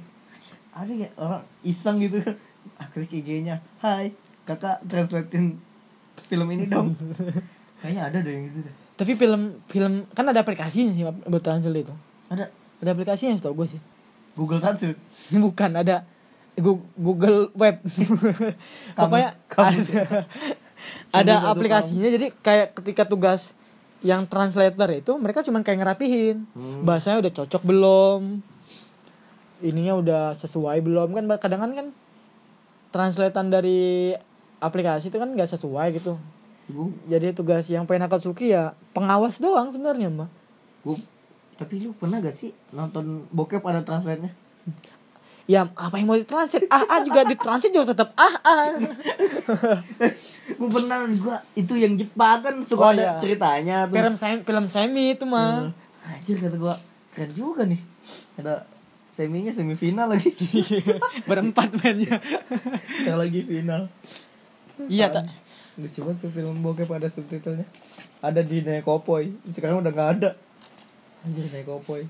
Speaker 2: ada ya orang iseng gitu ah, klik IG-nya Hai kakak translatein film ini dong kayaknya ada deh yang gitu deh
Speaker 1: tapi film film kan ada aplikasinya sih buat translate itu
Speaker 2: ada
Speaker 1: ada aplikasinya setahu gue sih
Speaker 2: Google Translate
Speaker 1: bukan ada Gu- Google Web pokoknya
Speaker 2: kamus.
Speaker 1: ada, ada
Speaker 2: Sumber satu
Speaker 1: aplikasinya jadi kayak ketika tugas yang translator itu mereka cuman kayak ngerapihin bahasanya udah cocok belum ininya udah sesuai belum kan kadang kan kan translatean dari aplikasi itu kan nggak sesuai gitu
Speaker 2: gue
Speaker 1: jadi tugas yang pengen Akatsuki ya pengawas doang sebenarnya mah
Speaker 2: tapi lu pernah gak sih nonton bokep ada translate-nya
Speaker 1: ya apa yang mau ditranslate ah ah juga ditranslate juga tetap ah ah
Speaker 2: gue pernah gue itu yang Jepang kan suka
Speaker 1: Oh,
Speaker 2: ada
Speaker 1: iya.
Speaker 2: ceritanya tuh Nah,
Speaker 1: film semi film semi itu mah
Speaker 2: Hmm. Anjir kata gua keren juga nih. Ada seminya semifinal lagi.
Speaker 1: berempat mainnya
Speaker 2: Yang lagi final.
Speaker 1: iya tak
Speaker 2: Lucu banget tuh film bokep ada subtitlenya. Ada di Nekopoy. Sekarang udah nggak ada. Anjir Nekopoy.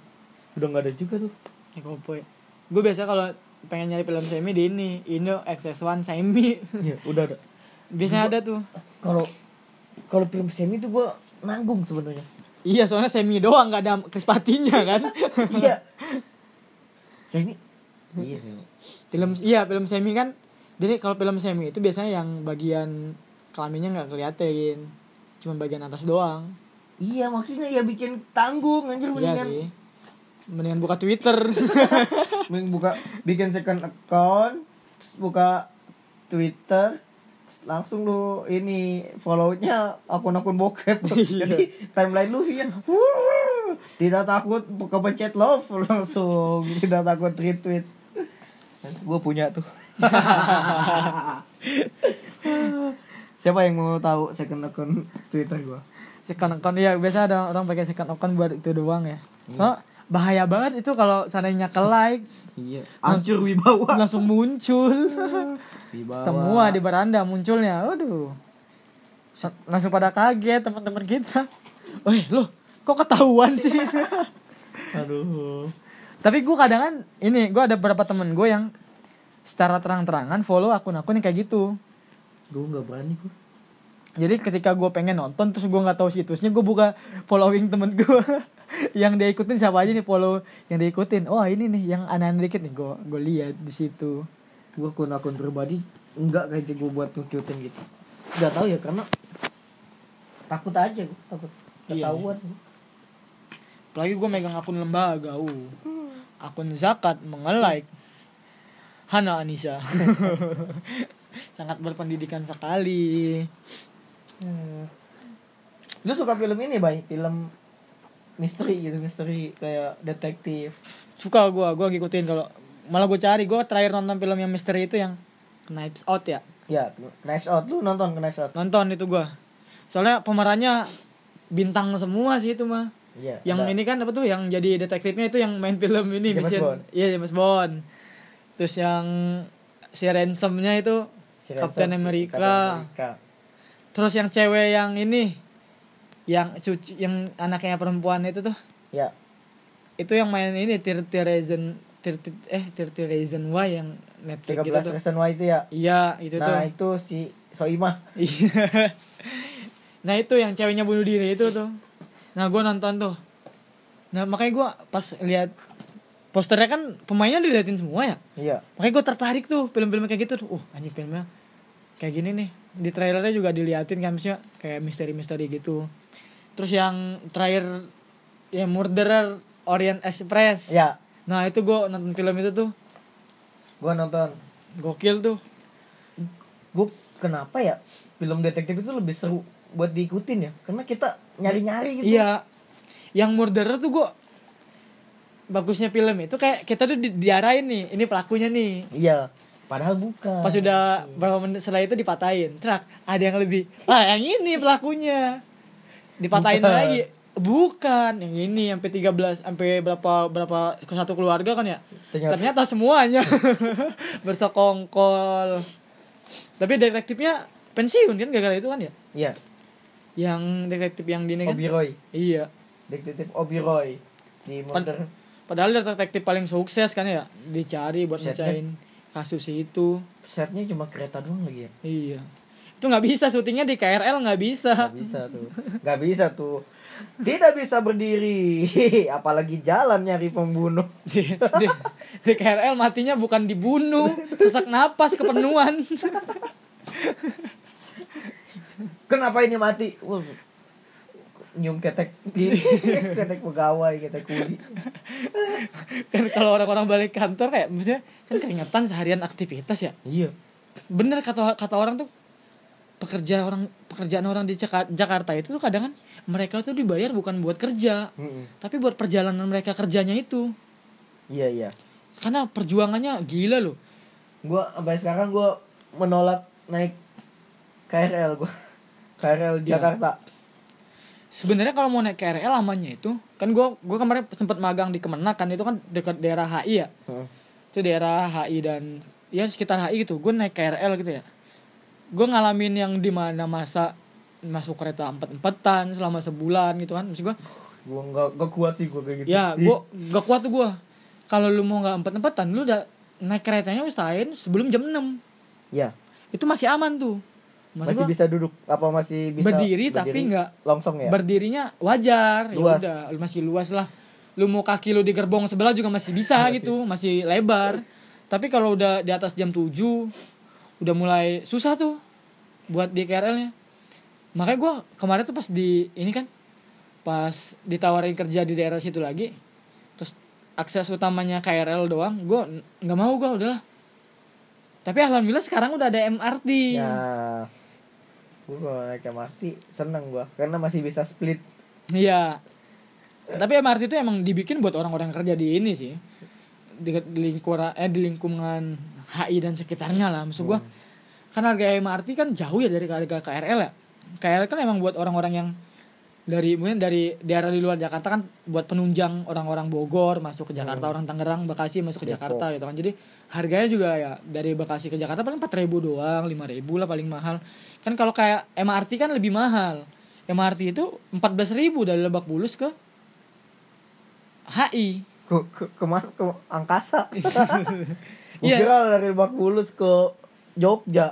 Speaker 2: Udah nggak ada juga tuh.
Speaker 1: ya kopoy gue biasa kalau pengen nyari film semi di ini Indo XX1 semi
Speaker 2: Iya, udah ada.
Speaker 1: biasanya ada tuh
Speaker 2: Kalau kalau film semi tuh gua nanggung sebenarnya.
Speaker 1: iya soalnya semi doang gak ada krispatinya kan
Speaker 2: iya. Semi. Iya, semi.
Speaker 1: film iya film semi kan jadi kalau film semi itu biasanya yang bagian kelaminnya nggak kelihatan cuma bagian atas doang
Speaker 2: Iya maksudnya ya bikin tanggung
Speaker 1: iya
Speaker 2: anjir mendingan
Speaker 1: sih mendingan buka Twitter
Speaker 2: Mending buka bikin second account, terus buka Twitter, terus langsung lu ini follow-nya akun-akun bokep. Jadi timeline lu sih ya. wuh, Tidak takut buka pencet love langsung, tidak takut retweet. Gue punya tuh. Siapa yang mau tahu second account Twitter gua?
Speaker 1: second account ya biasa ada orang pakai second account buat itu doang ya so bahaya banget itu kalau seandainya ke like
Speaker 2: Iya. Hancur wibawa.
Speaker 1: langsung muncul
Speaker 2: Wibawa.
Speaker 1: semua di beranda munculnya waduh Lang- langsung pada kaget teman-teman kita Weh loh kok ketahuan sih
Speaker 2: Aduh.
Speaker 1: tapi gue kadang kan ini gue ada beberapa temen gue yang secara terang-terangan follow akun-akun yang kayak gitu
Speaker 2: Gue nggak berani gua.
Speaker 1: jadi ketika gue pengen nonton terus gue nggak tahu situsnya gue buka following temen gue yang dia ikutin siapa aja nih follow yang dia ikutin wah ini nih yang aneh-aneh dikit nih gue gue lihat di situ
Speaker 2: gue akun akun pribadi enggak kayak gue buat ngikutin gitu nggak tahu ya karena takut aja gue takut
Speaker 1: Iya,
Speaker 2: ketahuan
Speaker 1: apalagi gue megang akun lembaga uh akun zakat mengelike Hana Anissa sangat berpendidikan sekali
Speaker 2: Hmm. lu suka film ini bay film misteri gitu misteri kayak detektif
Speaker 1: suka gua gua ngikutin kalau malah gua cari gua terakhir nonton film yang misteri itu yang Knives Out ya
Speaker 2: ya Knives Out lu nonton ke Knives Out
Speaker 1: nonton itu gua soalnya pemerannya bintang semua sih itu mah
Speaker 2: Iya.
Speaker 1: yang
Speaker 2: ada.
Speaker 1: ini kan apa tuh yang jadi detektifnya itu yang main film ini
Speaker 2: James
Speaker 1: Mission-
Speaker 2: Bond.
Speaker 1: iya James Bond terus yang si ransomnya itu
Speaker 2: Si
Speaker 1: Captain
Speaker 2: Ransom, si
Speaker 1: America.
Speaker 2: Captain America.
Speaker 1: terus yang cewek yang ini yang cucu yang anaknya perempuan itu tuh
Speaker 2: ya
Speaker 1: itu yang main ini Tirti Reason Tirti eh Tirti Reason Why yang Netflix
Speaker 2: 13
Speaker 1: gitu tuh
Speaker 2: Reason Why itu ya
Speaker 1: iya itu tuh
Speaker 2: nah itu si Soimah
Speaker 1: Iya. nah itu yang ceweknya bunuh diri itu tuh nah gue nonton tuh nah makanya gue pas lihat posternya kan pemainnya diliatin semua ya
Speaker 2: iya
Speaker 1: makanya gue tertarik tuh film-film kayak gitu uh anjing filmnya kayak gini nih di trailernya juga diliatin kan maksudnya kayak misteri-misteri gitu terus yang terakhir ya Murderer Orient Express
Speaker 2: ya
Speaker 1: nah itu gue nonton film itu tuh
Speaker 2: gua nonton
Speaker 1: gokil tuh
Speaker 2: gue kenapa ya film detektif itu lebih seru buat diikutin ya karena kita nyari-nyari gitu
Speaker 1: Iya. Yang murderer tuh gue bagusnya film itu kayak kita tuh di, diarahin nih, ini pelakunya nih.
Speaker 2: Iya. padahal bukan
Speaker 1: Pas udah berapa menit setelah itu dipatahin. Trak, ada yang lebih. Ah, yang ini pelakunya. Dipatahin
Speaker 2: Bukan.
Speaker 1: lagi. Bukan, yang ini sampai 13 sampai berapa berapa ke satu keluarga kan ya?
Speaker 2: Ternyata-
Speaker 1: Ternyata, semuanya bersokongkol. Tapi detektifnya pensiun kan gara-gara itu kan ya?
Speaker 2: iya
Speaker 1: Yang detektif yang di ini kan?
Speaker 2: Obi Roy
Speaker 1: Iya.
Speaker 2: detektif Obi Roy di murder
Speaker 1: Padahal dia detektif paling sukses kan ya dicari buat
Speaker 2: Buset,
Speaker 1: mecahin kasus itu.
Speaker 2: setnya cuma kereta doang lagi ya
Speaker 1: Iya. Itu nggak bisa syutingnya di KRL nggak bisa.
Speaker 2: Gak bisa tuh Gak bisa tuh Tidak bisa berdiri Apalagi jalan nyari pembunuh
Speaker 1: Di, di, di KRL matinya bukan dibunuh, sesak napas kepenuhan.
Speaker 2: Kenapa ini mati? Wah, Nyium ketek di Ketek pegawai Ketek kuli
Speaker 1: kan kalau orang-orang balik kantor kayak maksudnya kan keringetan seharian aktivitas ya.
Speaker 2: Iya
Speaker 1: Bener kata kata orang tuh pekerja orang pekerjaan orang di Jaka- Jakarta itu tuh kadang kan mereka tuh dibayar bukan buat kerja,
Speaker 2: Mm-mm.
Speaker 1: tapi buat perjalanan mereka kerjanya itu.
Speaker 2: Iya iya
Speaker 1: karena perjuangannya gila loh
Speaker 2: Gue sampai sekarang gue menolak naik KRL gue KRL
Speaker 1: Iya.
Speaker 2: Jakarta
Speaker 1: sebenarnya kalau mau naik KRL lamanya itu kan gua gua kemarin sempat magang di Kemenak kan itu kan dekat daerah HI ya
Speaker 2: Heeh.
Speaker 1: itu daerah HI dan ya sekitar HI gitu gue naik KRL gitu ya gue ngalamin yang dimana masa masuk kereta empat empatan selama sebulan gitu kan maksud gue
Speaker 2: Gue gak, gak kuat sih gue kayak gitu
Speaker 1: ya
Speaker 2: Ih,
Speaker 1: gue gak kuat tuh gue kalau lu mau nggak empat empatan lu udah naik keretanya usahain sebelum jam 6
Speaker 2: Iya
Speaker 1: itu masih aman tuh Maksud
Speaker 2: Masih
Speaker 1: gua,
Speaker 2: bisa duduk Apa masih bisa
Speaker 1: Berdiri, tapi nggak-
Speaker 2: Longsong ya
Speaker 1: berdirinya wajar ya
Speaker 2: Luas.
Speaker 1: udah lu masih luas lah lu mau kaki lu di gerbong sebelah juga masih bisa gitu masih lebar tapi kalau udah di atas jam 7 udah mulai susah tuh buat di KRL nya makanya gua kemarin tuh pas di ini kan pas ditawarin kerja di daerah situ lagi terus akses utamanya KRL doang gua n- nggak mau gua udahlah tapi alhamdulillah sekarang udah ada MRT
Speaker 2: Ya. Gue kalau naik MRT seneng gue karena masih bisa split.
Speaker 1: Iya. Tapi MRT itu emang dibikin buat orang-orang yang kerja di ini sih. Di, di lingkura- eh di lingkungan HI dan sekitarnya lah maksud gua. Kan harga MRT kan jauh ya dari harga KRL ya. KRL kan emang buat orang-orang yang dari mungkin dari daerah di luar Jakarta kan buat penunjang orang-orang Bogor masuk ke Jakarta, orang Tangerang, Bekasi masuk ke
Speaker 2: Depok.
Speaker 1: Jakarta gitu kan. Jadi harganya juga ya dari Bekasi ke Jakarta paling 4.000 doang, 5.000 lah paling mahal. Kan kalau kayak MRT kan lebih mahal. MRT itu 14.000 dari Lebak Bulus ke HI.
Speaker 2: Ke ke kemana? Ke angkasa. Gue
Speaker 1: Iya.
Speaker 2: kira dari Lebak Bulus ke Jogja.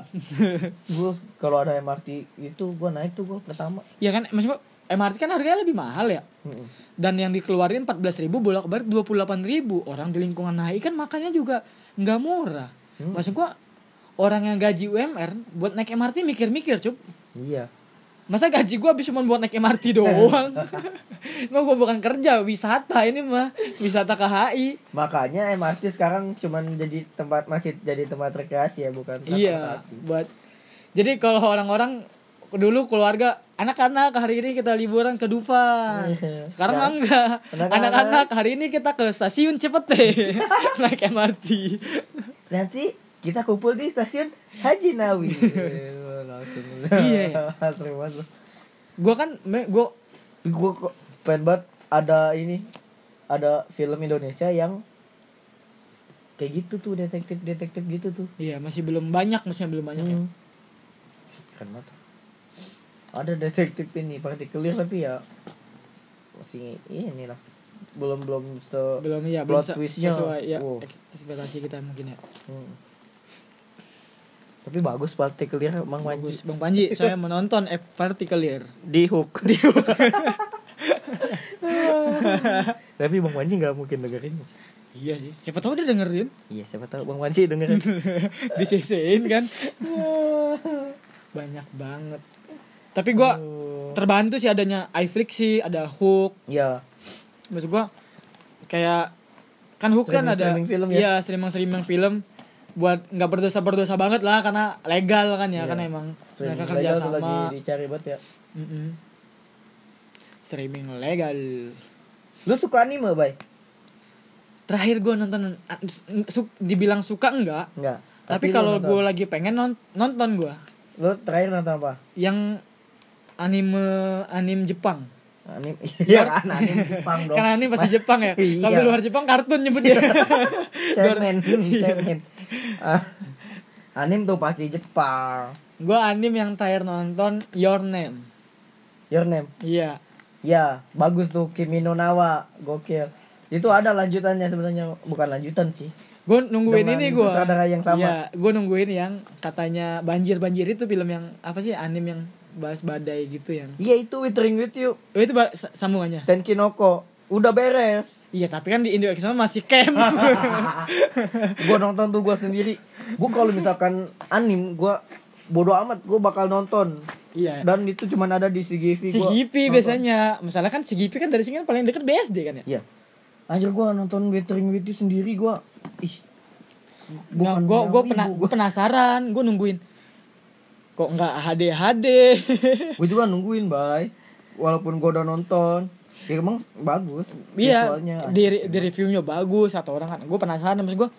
Speaker 2: gue kalau ada MRT itu gue naik tuh gue pertama.
Speaker 1: Ya kan maksud gua, MRT kan harganya lebih mahal ya.
Speaker 2: Mm-mm.
Speaker 1: Dan yang dikeluarin 14.000 bolak-balik 28.000. Orang di lingkungan HI kan makannya juga nggak murah. Maksud gua orang yang gaji UMR buat naik MRT mikir-mikir, Cuk.
Speaker 2: Iya.
Speaker 1: Masa gaji gua habis cuma buat naik MRT doang? Nggak, gua bukan kerja, wisata ini mah. Wisata ke HI.
Speaker 2: Makanya MRT sekarang cuman jadi tempat masih jadi tempat rekreasi ya bukan
Speaker 1: Iya,
Speaker 2: transportasi.
Speaker 1: buat jadi kalau orang-orang dulu keluarga anak-anak hari ini kita liburan ke Dufan.
Speaker 2: Iya.
Speaker 1: Sekarang mah enggak.
Speaker 2: Anak-anak.
Speaker 1: Anak-anak hari ini kita ke stasiun Cipete naik MRT.
Speaker 2: Nanti kita kumpul di stasiun Haji Nawi. langsung.
Speaker 1: Iya.
Speaker 2: Langsung masuk.
Speaker 1: Gua kan me- gua
Speaker 2: Gue kok pengen banget ada ini ada film Indonesia yang kayak gitu tuh detektif detektif gitu tuh.
Speaker 1: iya masih belum banyak, masih belum banyak ya.
Speaker 2: Hmm. Keren banget. Ada detektif ini clear tapi ya masih ini lah. Belum belum se
Speaker 1: Belum ya, belum
Speaker 2: Hmm. Plot
Speaker 1: se-
Speaker 2: twist-nya.
Speaker 1: sesuai ya
Speaker 2: Wow.
Speaker 1: eks- ekspektasi kita mungkin ya.
Speaker 2: Hmm. Tapi bagus clear emang
Speaker 1: Bagus,
Speaker 2: Manji.
Speaker 1: Bang Panji, saya menonton F Particular.
Speaker 2: Di hook. tapi Bang Manji nggak mungkin dengerin.
Speaker 1: Iya sih. Siapa tahu dia dengerin,
Speaker 2: Iya siapa tahu Bang Manji dengerin.
Speaker 1: di CC-in kan. Banyak banget. Tapi gua terbantu sih adanya iFlix sih, ada Hook.
Speaker 2: Ya.
Speaker 1: Maksud gua kayak kan Hook kan
Speaker 2: Streaming-
Speaker 1: ada
Speaker 2: streaming film ya?
Speaker 1: Iya, streaming-streaming film buat nggak berdosa-berdosa banget lah karena legal kan ya,
Speaker 2: Iya.
Speaker 1: karena emang mereka
Speaker 2: Streaming
Speaker 1: kerja
Speaker 2: legal tuh
Speaker 1: sama
Speaker 2: lagi dicari banget ya.
Speaker 1: Mm-mm. streaming legal.
Speaker 2: Lu suka anime, Bay?
Speaker 1: Terakhir gua nonton ah, su- dibilang suka enggak?
Speaker 2: Enggak.
Speaker 1: Tapi,
Speaker 2: lu
Speaker 1: kalau
Speaker 2: nonton.
Speaker 1: gua lagi pengen non- nonton gua
Speaker 2: lu terakhir nonton apa?
Speaker 1: yang anime anime Jepang.
Speaker 2: Anim. Iya, kan anim Jepang dong.
Speaker 1: Karena anime pasti Jepang ya.
Speaker 2: Iya.
Speaker 1: Kalau luar Jepang kartun nyebutnya.
Speaker 2: cemen,
Speaker 1: Iya.
Speaker 2: cemen. Ah, anim tuh pasti Jepang.
Speaker 1: gua anime yang terakhir nonton Your Name.
Speaker 2: Your name.
Speaker 1: Iya.
Speaker 2: Ya, bagus tuh Kimi no Nawa, gokil. Itu ada lanjutannya sebenarnya, bukan lanjutan sih.
Speaker 1: Gue nungguin
Speaker 2: Dengan
Speaker 1: ini gue.
Speaker 2: sutradara yang sama.
Speaker 1: Iya, gue nungguin yang katanya banjir-banjir itu film yang apa sih anime yang bahas badai gitu yang.
Speaker 2: Iya itu Withering with You,
Speaker 1: Oh, itu ba- sa- sambungannya.
Speaker 2: Tenkinoko. Udah beres.
Speaker 1: Iya, tapi kan di Indo Exxon masih camp.
Speaker 2: gua nonton tuh gua sendiri. Gua kalau misalkan anim gua bodoh amat, gua bakal nonton.
Speaker 1: iya.
Speaker 2: Dan itu cuman ada di CGV
Speaker 1: Si
Speaker 2: gua
Speaker 1: Gipi
Speaker 2: nonton.
Speaker 1: biasanya. Masalah kan si Gipi kan dari sini kan paling deket BSD kan ya.
Speaker 2: Iya. Anjir gua nonton Withering with You sendiri gua ih.
Speaker 1: Nah, gue
Speaker 2: bilang
Speaker 1: gue
Speaker 2: wibu,
Speaker 1: pena,
Speaker 2: gua.
Speaker 1: gua penasaran, gue nungguin kok nggak HD HD.
Speaker 2: Gua juga nungguin, Bay. Walaupun gua udah nonton. Ya emang bagus
Speaker 1: Iya,
Speaker 2: visualnya. ah, gitu.
Speaker 1: di, di reviewnya bagus satu orang kan. Gue penasaran, maksud gue,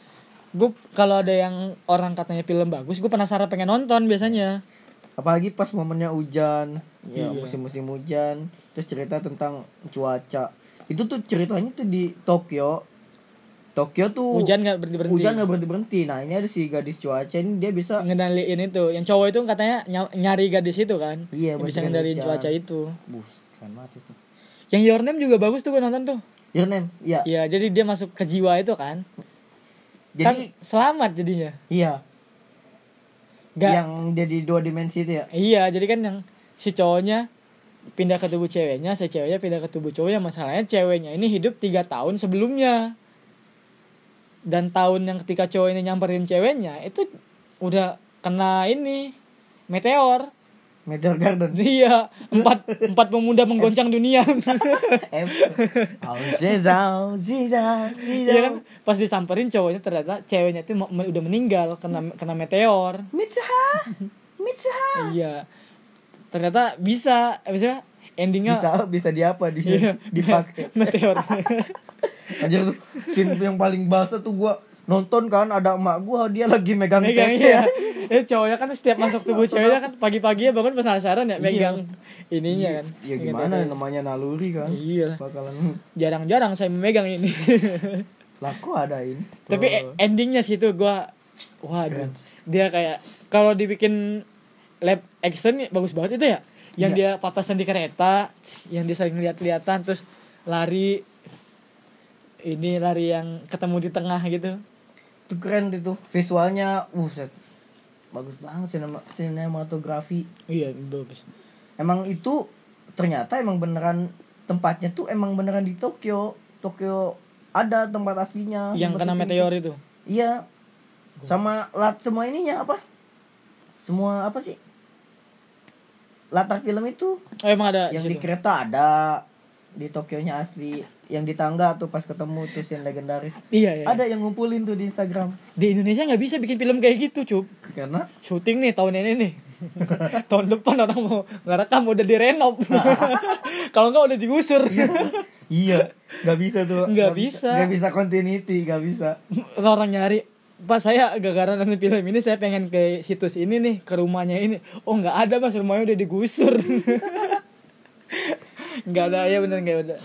Speaker 1: gue kalau ada yang orang katanya film bagus, gue penasaran pengen nonton biasanya.
Speaker 2: Apalagi pas momennya hujan, ya
Speaker 1: Iya.
Speaker 2: musim-musim hujan, terus cerita tentang cuaca. Itu tuh ceritanya tuh di Tokyo. Tokyo tuh
Speaker 1: Hujan nggak berhenti Iya. berhenti.
Speaker 2: Oh, hujan nggak berhenti berhenti. Nah ini ada si gadis cuaca ini dia bisa
Speaker 1: Ngendaliin itu, yang cowok itu katanya ny- nyari gadis itu kan, yang
Speaker 2: Iya,
Speaker 1: bisa
Speaker 2: buat
Speaker 1: ngendaliin
Speaker 2: hujan.
Speaker 1: cuaca itu.
Speaker 2: bus keren banget itu.
Speaker 1: Yang Your Name juga bagus tuh gue nonton tuh.
Speaker 2: Your name, ya.
Speaker 1: Iya, jadi dia masuk ke jiwa itu kan.
Speaker 2: Jadi
Speaker 1: kan selamat jadinya.
Speaker 2: iya
Speaker 1: Gak,
Speaker 2: yang jadi dua dimensi itu ya.
Speaker 1: Iya, jadi kan yang si cowoknya pindah ke tubuh ceweknya, si ceweknya pindah ke tubuh cowoknya. Masalahnya ceweknya ini hidup tiga tahun sebelumnya. Dan tahun yang ketika cowok ini nyamperin ceweknya itu udah kena ini meteor.
Speaker 2: Meteor Garden.
Speaker 1: Iya, empat empat pemuda menggoncang dunia.
Speaker 2: F. Auzizau, zizau,
Speaker 1: Iya kan?
Speaker 2: zizau.
Speaker 1: Pas disamperin cowoknya ternyata ceweknya itu mau- udah meninggal kena kena meteor.
Speaker 2: Mitsuha, Mitsuha.
Speaker 1: Iya. Ternyata bisa, bisa endingnya
Speaker 2: Bisa bisa di apa di
Speaker 1: Iya.
Speaker 2: dipakai.
Speaker 1: meteor.
Speaker 2: Anjir tuh scene yang paling basah tuh gua nonton kan ada emak gua dia lagi megang
Speaker 1: megang
Speaker 2: tete
Speaker 1: iya.
Speaker 2: ya.
Speaker 1: Eh cowoknya kan setiap masuk tubuh ceweknya kan pagi-paginya bangun penasaran ya megang ininya kan.
Speaker 2: Ya
Speaker 1: Megang
Speaker 2: gimana
Speaker 1: tete.
Speaker 2: namanya naluri kan.
Speaker 1: Iya lah.
Speaker 2: Bakalan
Speaker 1: Jarang-jarang saya memegang ini.
Speaker 2: laku adain.
Speaker 1: Tapi e-
Speaker 2: Tuh.
Speaker 1: endingnya situ gua waduh. Dia kayak kalau dibikin lab action ya bagus banget itu ya. Yang
Speaker 2: Iya.
Speaker 1: dia papasan di kereta, yang dia sering lihat-lihatan terus lari ini lari yang ketemu di tengah gitu.
Speaker 2: Itu keren itu visualnya. Buset. Bagus banget sinema sinematografi.
Speaker 1: Iya, bagus.
Speaker 2: Emang itu ternyata emang beneran tempatnya tuh emang beneran di Tokyo. Tokyo ada tempat aslinya.
Speaker 1: Yang
Speaker 2: tempat
Speaker 1: kena
Speaker 2: syuting.
Speaker 1: meteor itu.
Speaker 2: Iya. Sama lat semua ininya apa? Semua apa sih? Latar film itu
Speaker 1: Oh, emang ada
Speaker 2: yang
Speaker 1: di
Speaker 2: di
Speaker 1: situ?
Speaker 2: kereta ada di Tokyonya asli yang di tangga tuh pas ketemu tuh scene legendaris
Speaker 1: Iya, iya.
Speaker 2: ada yang ngumpulin tuh di Instagram
Speaker 1: di Indonesia nggak bisa bikin film kayak gitu cup
Speaker 2: karena
Speaker 1: syuting nih tahun ini nih tahun depan orang mau ngerekam udah direnov kalau enggak udah digusur
Speaker 2: iya nggak bisa tuh
Speaker 1: Nggak bisa.
Speaker 2: nggak bisa continuity nggak bisa
Speaker 1: orang nyari pas saya gara-gara nonton film ini saya pengen ke situs ini nih ke rumahnya ini oh nggak ada mas rumahnya udah digusur nggak ada ya bener nggak ada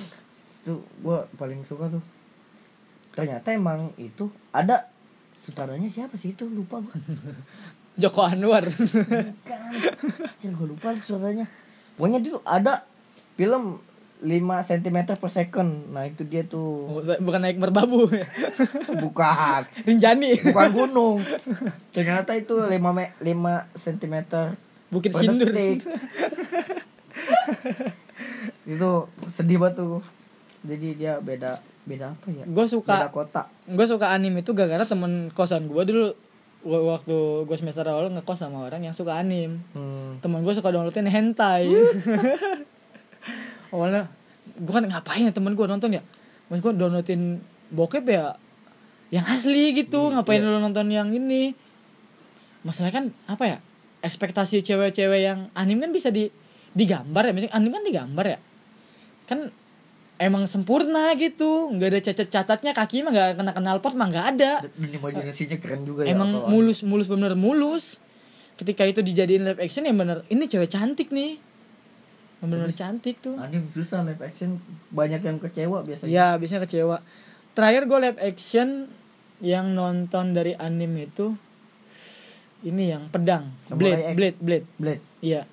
Speaker 2: itu gua paling suka tuh ternyata emang itu ada saudaranya siapa sih itu lupa gua
Speaker 1: Joko Anwar
Speaker 2: kan yang gue lupa tuh saudaranya pokoknya itu ada film 5 cm per second nah itu dia tuh
Speaker 1: Oh, bukan naik merbabu
Speaker 2: bukan
Speaker 1: Rinjani
Speaker 2: bukan gunung ternyata itu 5 me- 5 cm
Speaker 1: Bukit Sindur
Speaker 2: itu sedih banget tuh jadi dia beda beda apa ya
Speaker 1: gue
Speaker 2: beda
Speaker 1: suka
Speaker 2: kota
Speaker 1: gue suka anime itu gara-gara temen kosan gue dulu wa- waktu gue semester awal ngekos sama orang yang suka anime
Speaker 2: hmm.
Speaker 1: temen gue suka downloadin hentai awalnya gue kan ngapain ya temen gue nonton ya mas gue downloadin bokep ya yang asli gitu ngapain lu nonton yang ini masalahnya kan apa ya ekspektasi cewek-cewek yang anime kan bisa di digambar ya misalnya anime kan digambar ya kan emang sempurna gitu nggak ada cacat-cacatnya kaki mah nggak kena kenal pot mah nggak ada
Speaker 2: dan imajinasinya keren juga ya
Speaker 1: emang
Speaker 2: kalau-
Speaker 1: mulus mulus bener mulus ketika itu dijadiin live action yang bener ini cewek cantik nih bener cantik tuh
Speaker 2: anime susah live action banyak yang kecewa biasanya
Speaker 1: ya biasanya kecewa terakhir gue live action yang nonton dari anime itu ini yang pedang
Speaker 2: Samurai
Speaker 1: blade
Speaker 2: X.
Speaker 1: blade blade
Speaker 2: Blade
Speaker 1: iya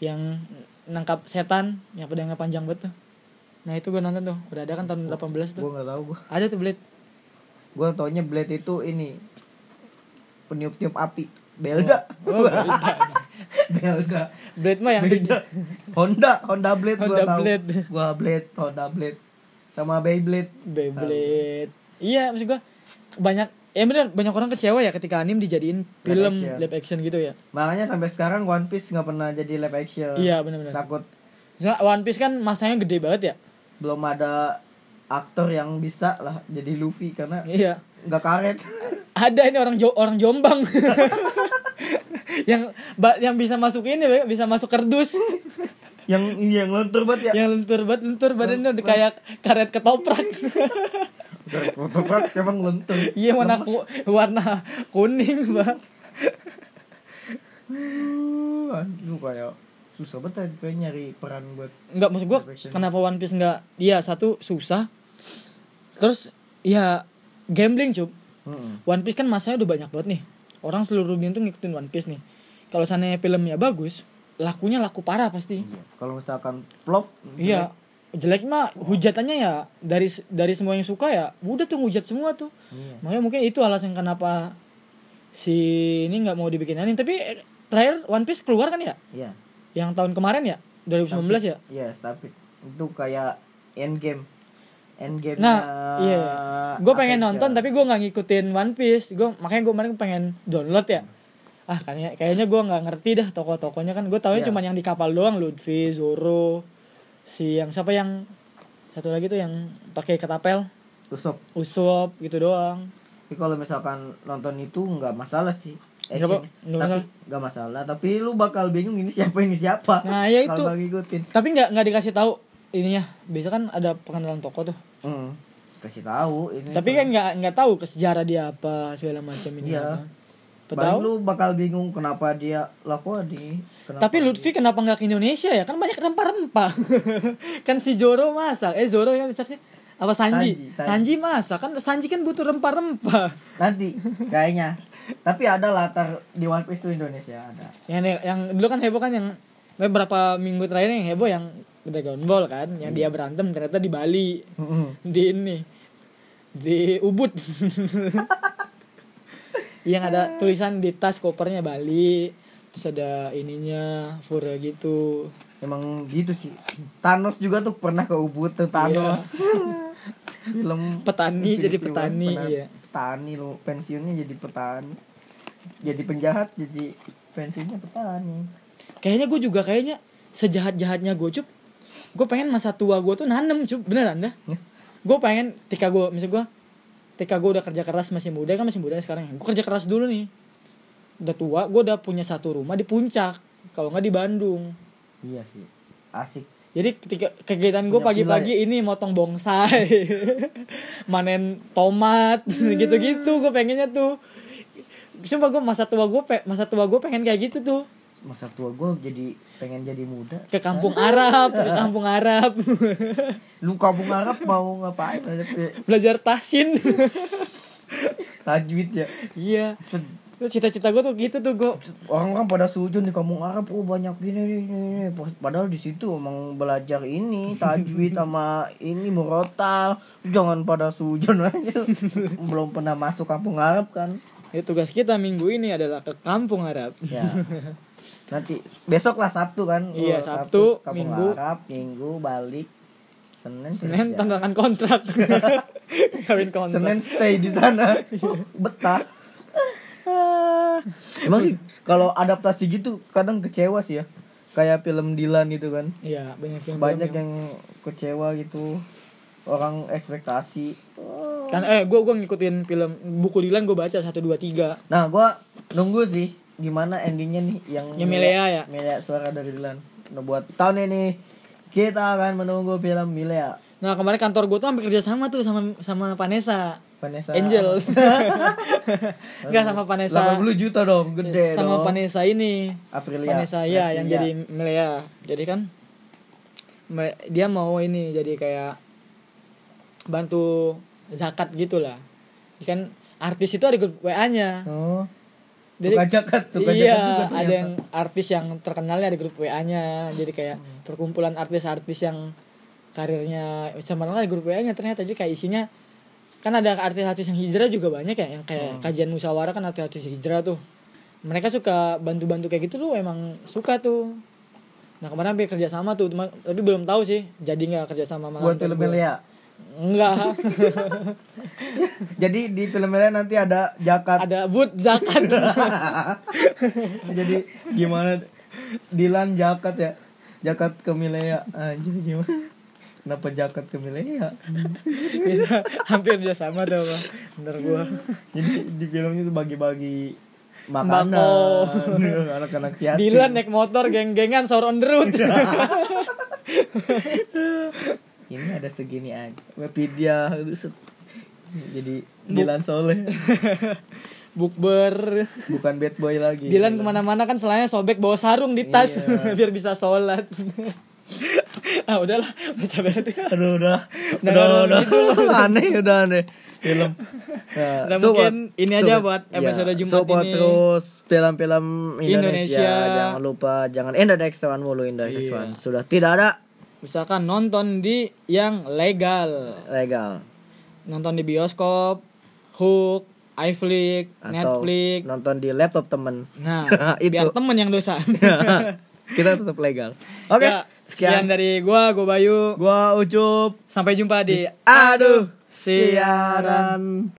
Speaker 1: yang nangkap setan yang pedangnya panjang banget tuh nah itu gue nonton tuh udah ada kan tahun 18 tuh
Speaker 2: gua nggak tahu gua
Speaker 1: ada tuh blade
Speaker 2: gua taunya Blade itu ini peniup-tiup api Belga
Speaker 1: oh, Blade.
Speaker 2: Belga
Speaker 1: blade mah yang
Speaker 2: Belga Honda Honda Blade gua
Speaker 1: Honda
Speaker 2: tahu
Speaker 1: Blade.
Speaker 2: gua Blade Honda Blade sama Beyblade
Speaker 1: Beyblade. Iya, maksud gua banyak ya bener banyak orang kecewa ya ketika anime dijadiin
Speaker 2: Live
Speaker 1: film
Speaker 2: action.
Speaker 1: live action gitu ya.
Speaker 2: makanya sampai sekarang One Piece nggak pernah jadi live action
Speaker 1: Iya, benar-benar.
Speaker 2: takut
Speaker 1: Misalnya One Piece kan masanya gede banget ya.
Speaker 2: belum ada aktor yang bisa lah jadi Luffy karena
Speaker 1: Iya.
Speaker 2: nggak karet
Speaker 1: Ada ini orang jo orang Jombang. yang ba- yang bisa masuk ini Bang, bisa masuk kerdus
Speaker 2: yang yang lentur banget ya
Speaker 1: yang lentur banget lentur badannya udah kayak karet ketoprak
Speaker 2: Otoprak emang lentur.
Speaker 1: iya warna ku- warna kuning bang
Speaker 2: Uh, Aduh kayak susah banget ya, kayak nyari peran buat
Speaker 1: Enggak maksud gua
Speaker 2: Live action.
Speaker 1: kenapa One Piece enggak Iya satu susah Terus ya gambling cup
Speaker 2: Mm-mm.
Speaker 1: One Piece kan masanya udah banyak banget nih Orang seluruh dunia tuh ngikutin One Piece nih Kalau seandainya filmnya bagus Lakunya laku parah pasti
Speaker 2: Iya. Kalau misalkan plop
Speaker 1: Iya Jelek mah hujatannya ya Dari dari semua yang suka ya Udah tuh hujat semua tuh
Speaker 2: Iya.
Speaker 1: Makanya mungkin itu alasan kenapa Si ini nggak mau dibikin anime Tapi eh, terakhir One Piece keluar kan ya
Speaker 2: Iya.
Speaker 1: Yang tahun kemarin ya 2019 ya
Speaker 2: Iya, tapi itu kayak end game. End game.
Speaker 1: Nah, iya. Gue pengen nonton tapi gue nggak ngikutin One Piece. Gue makanya gue kemarin pengen download ya. Ah kayaknya kayaknya gue nggak ngerti dah tokoh-tokohnya kan. Gue tahunya
Speaker 2: Iya.
Speaker 1: cuma yang di kapal doang Luffy, Zoro, si yang siapa yang satu lagi tuh yang pakai ketapel,
Speaker 2: Usop.
Speaker 1: Usopp gitu doang.
Speaker 2: Tapi kalau misalkan nonton itu nggak masalah sih.
Speaker 1: Nggak apa- nggak
Speaker 2: tapi
Speaker 1: masalah.
Speaker 2: nggak masalah. Tapi lu bakal bingung ini siapa ini siapa.
Speaker 1: Nah, ya itu.
Speaker 2: Kalau nggak ngikutin.
Speaker 1: Tapi nggak nggak dikasih tahu ininya. Biasa kan ada pengenalan tokoh tuh.
Speaker 2: Mm. Kasih tahu ini.
Speaker 1: Tapi kan nggak nggak tahu ke sejarah dia apa segala macam ini.
Speaker 2: Iya.
Speaker 1: apa.
Speaker 2: Baru
Speaker 1: Tahu?
Speaker 2: lu bakal bingung kenapa dia laku di kenapa
Speaker 1: Tapi Lutfi kenapa nggak ke Indonesia ya? Kan banyak rempah-rempah. kan si Joro masak. Eh Joro ya misalnya apa Sanji?
Speaker 2: Sanji, Sanji.
Speaker 1: Sanji, masak. Kan Sanji kan butuh rempah-rempah.
Speaker 2: nanti kayaknya tapi ada latar di One Piece tuh Indonesia ada
Speaker 1: Yang yang dulu kan heboh kan yang eh, berapa minggu terakhir yang heboh yang Dragon Ball kan, yang
Speaker 2: Hmm.
Speaker 1: dia berantem ternyata di Bali, di ini, di Ubud. yang ada tulisan di tas kopernya Bali, terus ada ininya fura gitu.
Speaker 2: emang gitu sih Thanos juga tuh pernah ke Ubud tuh Thanos film
Speaker 1: Iya. Petani jadi
Speaker 2: Infinity War
Speaker 1: petani,
Speaker 2: pernah
Speaker 1: iya.
Speaker 2: petani lu pensiunnya jadi petani jadi penjahat jadi pensiunnya petani
Speaker 1: kayaknya gue juga kayaknya sejahat jahatnya gue cup gue pengen masa tua gue tuh nanem cup beneran dah gue pengen ketika ya gue misal gue ketika gue udah kerja keras masih muda kan masih muda sekarang gue kerja keras dulu nih udah tua gue udah punya satu rumah di puncak kalau nggak di Bandung
Speaker 2: Iya sih. Asik.
Speaker 1: jadi ketika kegiatan gue
Speaker 2: Punya
Speaker 1: pagi-pagi ini motong bongsai manen tomat gitu-gitu gue pengennya tuh sumpah gue masa tua gue masa tua gue pengen kayak gitu tuh
Speaker 2: Masa tua gue jadi pengen jadi muda.
Speaker 1: ke kampung Arab ke kampung Arab
Speaker 2: Lu kampung Arab mau ngapain? Ada pe-
Speaker 1: belajar tahsin
Speaker 2: tajwid ya.
Speaker 1: iya
Speaker 2: Set-
Speaker 1: Terus cita-cita gue tuh gitu tuh gue
Speaker 2: Orang-orang kan pada sujud di kampung Arab, oh banyak gini nih, gini, nih. Padahal di situ emang belajar ini tajwid sama ini murotal. Jangan pada sujud aja. Belum pernah masuk kampung Arab kan?
Speaker 1: ya, tugas kita minggu ini adalah ke kampung Arab
Speaker 2: Ya. Nanti besok lah Sabtu kan?
Speaker 1: Iya,
Speaker 2: Lu
Speaker 1: Sabtu,
Speaker 2: kampung
Speaker 1: Minggu.
Speaker 2: Arab, Minggu balik. Senin,
Speaker 1: Senin
Speaker 2: kerja.
Speaker 1: tanggalkan kontrak kawin kontrak
Speaker 2: Iya. Senin stay di sana.
Speaker 1: Iya.
Speaker 2: Oh, Betah. Ah. Emang sih kalau adaptasi gitu kadang kecewa sih ya. Kayak film Dilan gitu kan.
Speaker 1: iya banyak yang
Speaker 2: Banyak yang kecewa gitu. Orang ekspektasi.
Speaker 1: kan eh gue gue ngikutin film buku Dilan gue baca satu dua tiga
Speaker 2: Nah, gua nunggu sih gimana endingnya nih yang
Speaker 1: Yang Milea ya?
Speaker 2: Milea suara dari Dilan. Nah, buat tahun ini kita akan menunggu film Milea.
Speaker 1: nah kemarin kantor gue tuh ambil kerja sama tuh sama sama Vanessa
Speaker 2: Vanessa
Speaker 1: Angel nggak sama Vanessa
Speaker 2: 80 juta dong, gede
Speaker 1: sama
Speaker 2: dong.
Speaker 1: Vanessa ini
Speaker 2: Aprilia.
Speaker 1: Vanessa ya yang
Speaker 2: Gracia.
Speaker 1: jadi Milea jadi kan me- dia mau ini jadi kayak bantu zakat gitulah kan artis itu ada grup WA nya
Speaker 2: Oh.
Speaker 1: Jadi-
Speaker 2: suka jakat, suka
Speaker 1: iya,
Speaker 2: jakat juga tuh.
Speaker 1: ada
Speaker 2: ya.
Speaker 1: yang artis yang terkenalnya ada grup WA-nya. Jadi kayak
Speaker 2: Hmm.
Speaker 1: perkumpulan artis-artis yang karirnya sama ada grup WA-nya ternyata jadi kayak isinya kan ada artis-artis yang hijrah juga banyak ya yang
Speaker 2: Hmm.
Speaker 1: kayak kajian musyawarah kan artis-artis hijrah tuh. Mereka suka bantu-bantu kayak gitu tuh emang suka tuh. Nah kemarin hampir kerja sama tuh, cuma- tapi belum tahu sih jadi nggak kerja sama sama
Speaker 2: buat
Speaker 1: kantor
Speaker 2: film
Speaker 1: gua.
Speaker 2: Milea.
Speaker 1: Enggak,
Speaker 2: Jadi di film Milea nanti ada jakat.
Speaker 1: ada but zakat.
Speaker 2: jadi gimana Dilan jakat ya. Jakat ke Milea. Anjir gimana? Kenapa jakat ke Milea?
Speaker 1: Gitu, hampir kerja sama tuh, Bang. bener gua.
Speaker 2: Jadi di film itu bagi-bagi makanan Iya,
Speaker 1: Sembako.
Speaker 2: anak-anak yatim.
Speaker 1: Dilan ya. naik motor geng-gengan sahur on the road.
Speaker 2: Iya. Ini ada segini aja. Wepidia set. jadi Dilan soleh
Speaker 1: Bukber.
Speaker 2: bukan bad boy lagi.
Speaker 1: Dilan kemana-mana kan selainnya sobek bawa sarung di tas
Speaker 2: Iya.
Speaker 1: biar bisa sholat. ah udahlah baca berarti.
Speaker 2: Aduh udah
Speaker 1: Nah,
Speaker 2: udah
Speaker 1: kalau
Speaker 2: udah, aneh udah aneh film. Nah,
Speaker 1: Nah, mungkin ini aja buat episode Jumat
Speaker 2: sobat
Speaker 1: ini.
Speaker 2: ya, terus film-film Indonesia.
Speaker 1: Indonesia.
Speaker 2: Jangan lupa jangan Enda Dex One mulu Enda Dex
Speaker 1: Iya.
Speaker 2: One. Sudah tidak ada
Speaker 1: Misalkan nonton di yang legal.
Speaker 2: legal
Speaker 1: Nonton di bioskop, Hook, iFlix,
Speaker 2: atau
Speaker 1: Netflix.
Speaker 2: nonton di laptop temen.
Speaker 1: Nah,
Speaker 2: Itu.
Speaker 1: biar temen yang dosa.
Speaker 2: Kita tetap legal. Oke,
Speaker 1: Ya, sekian
Speaker 2: sekian.
Speaker 1: dari gua, gua Bayu.
Speaker 2: Gua ucup.
Speaker 1: Sampai jumpa di
Speaker 2: Aduh,
Speaker 1: siaran.
Speaker 2: siaran.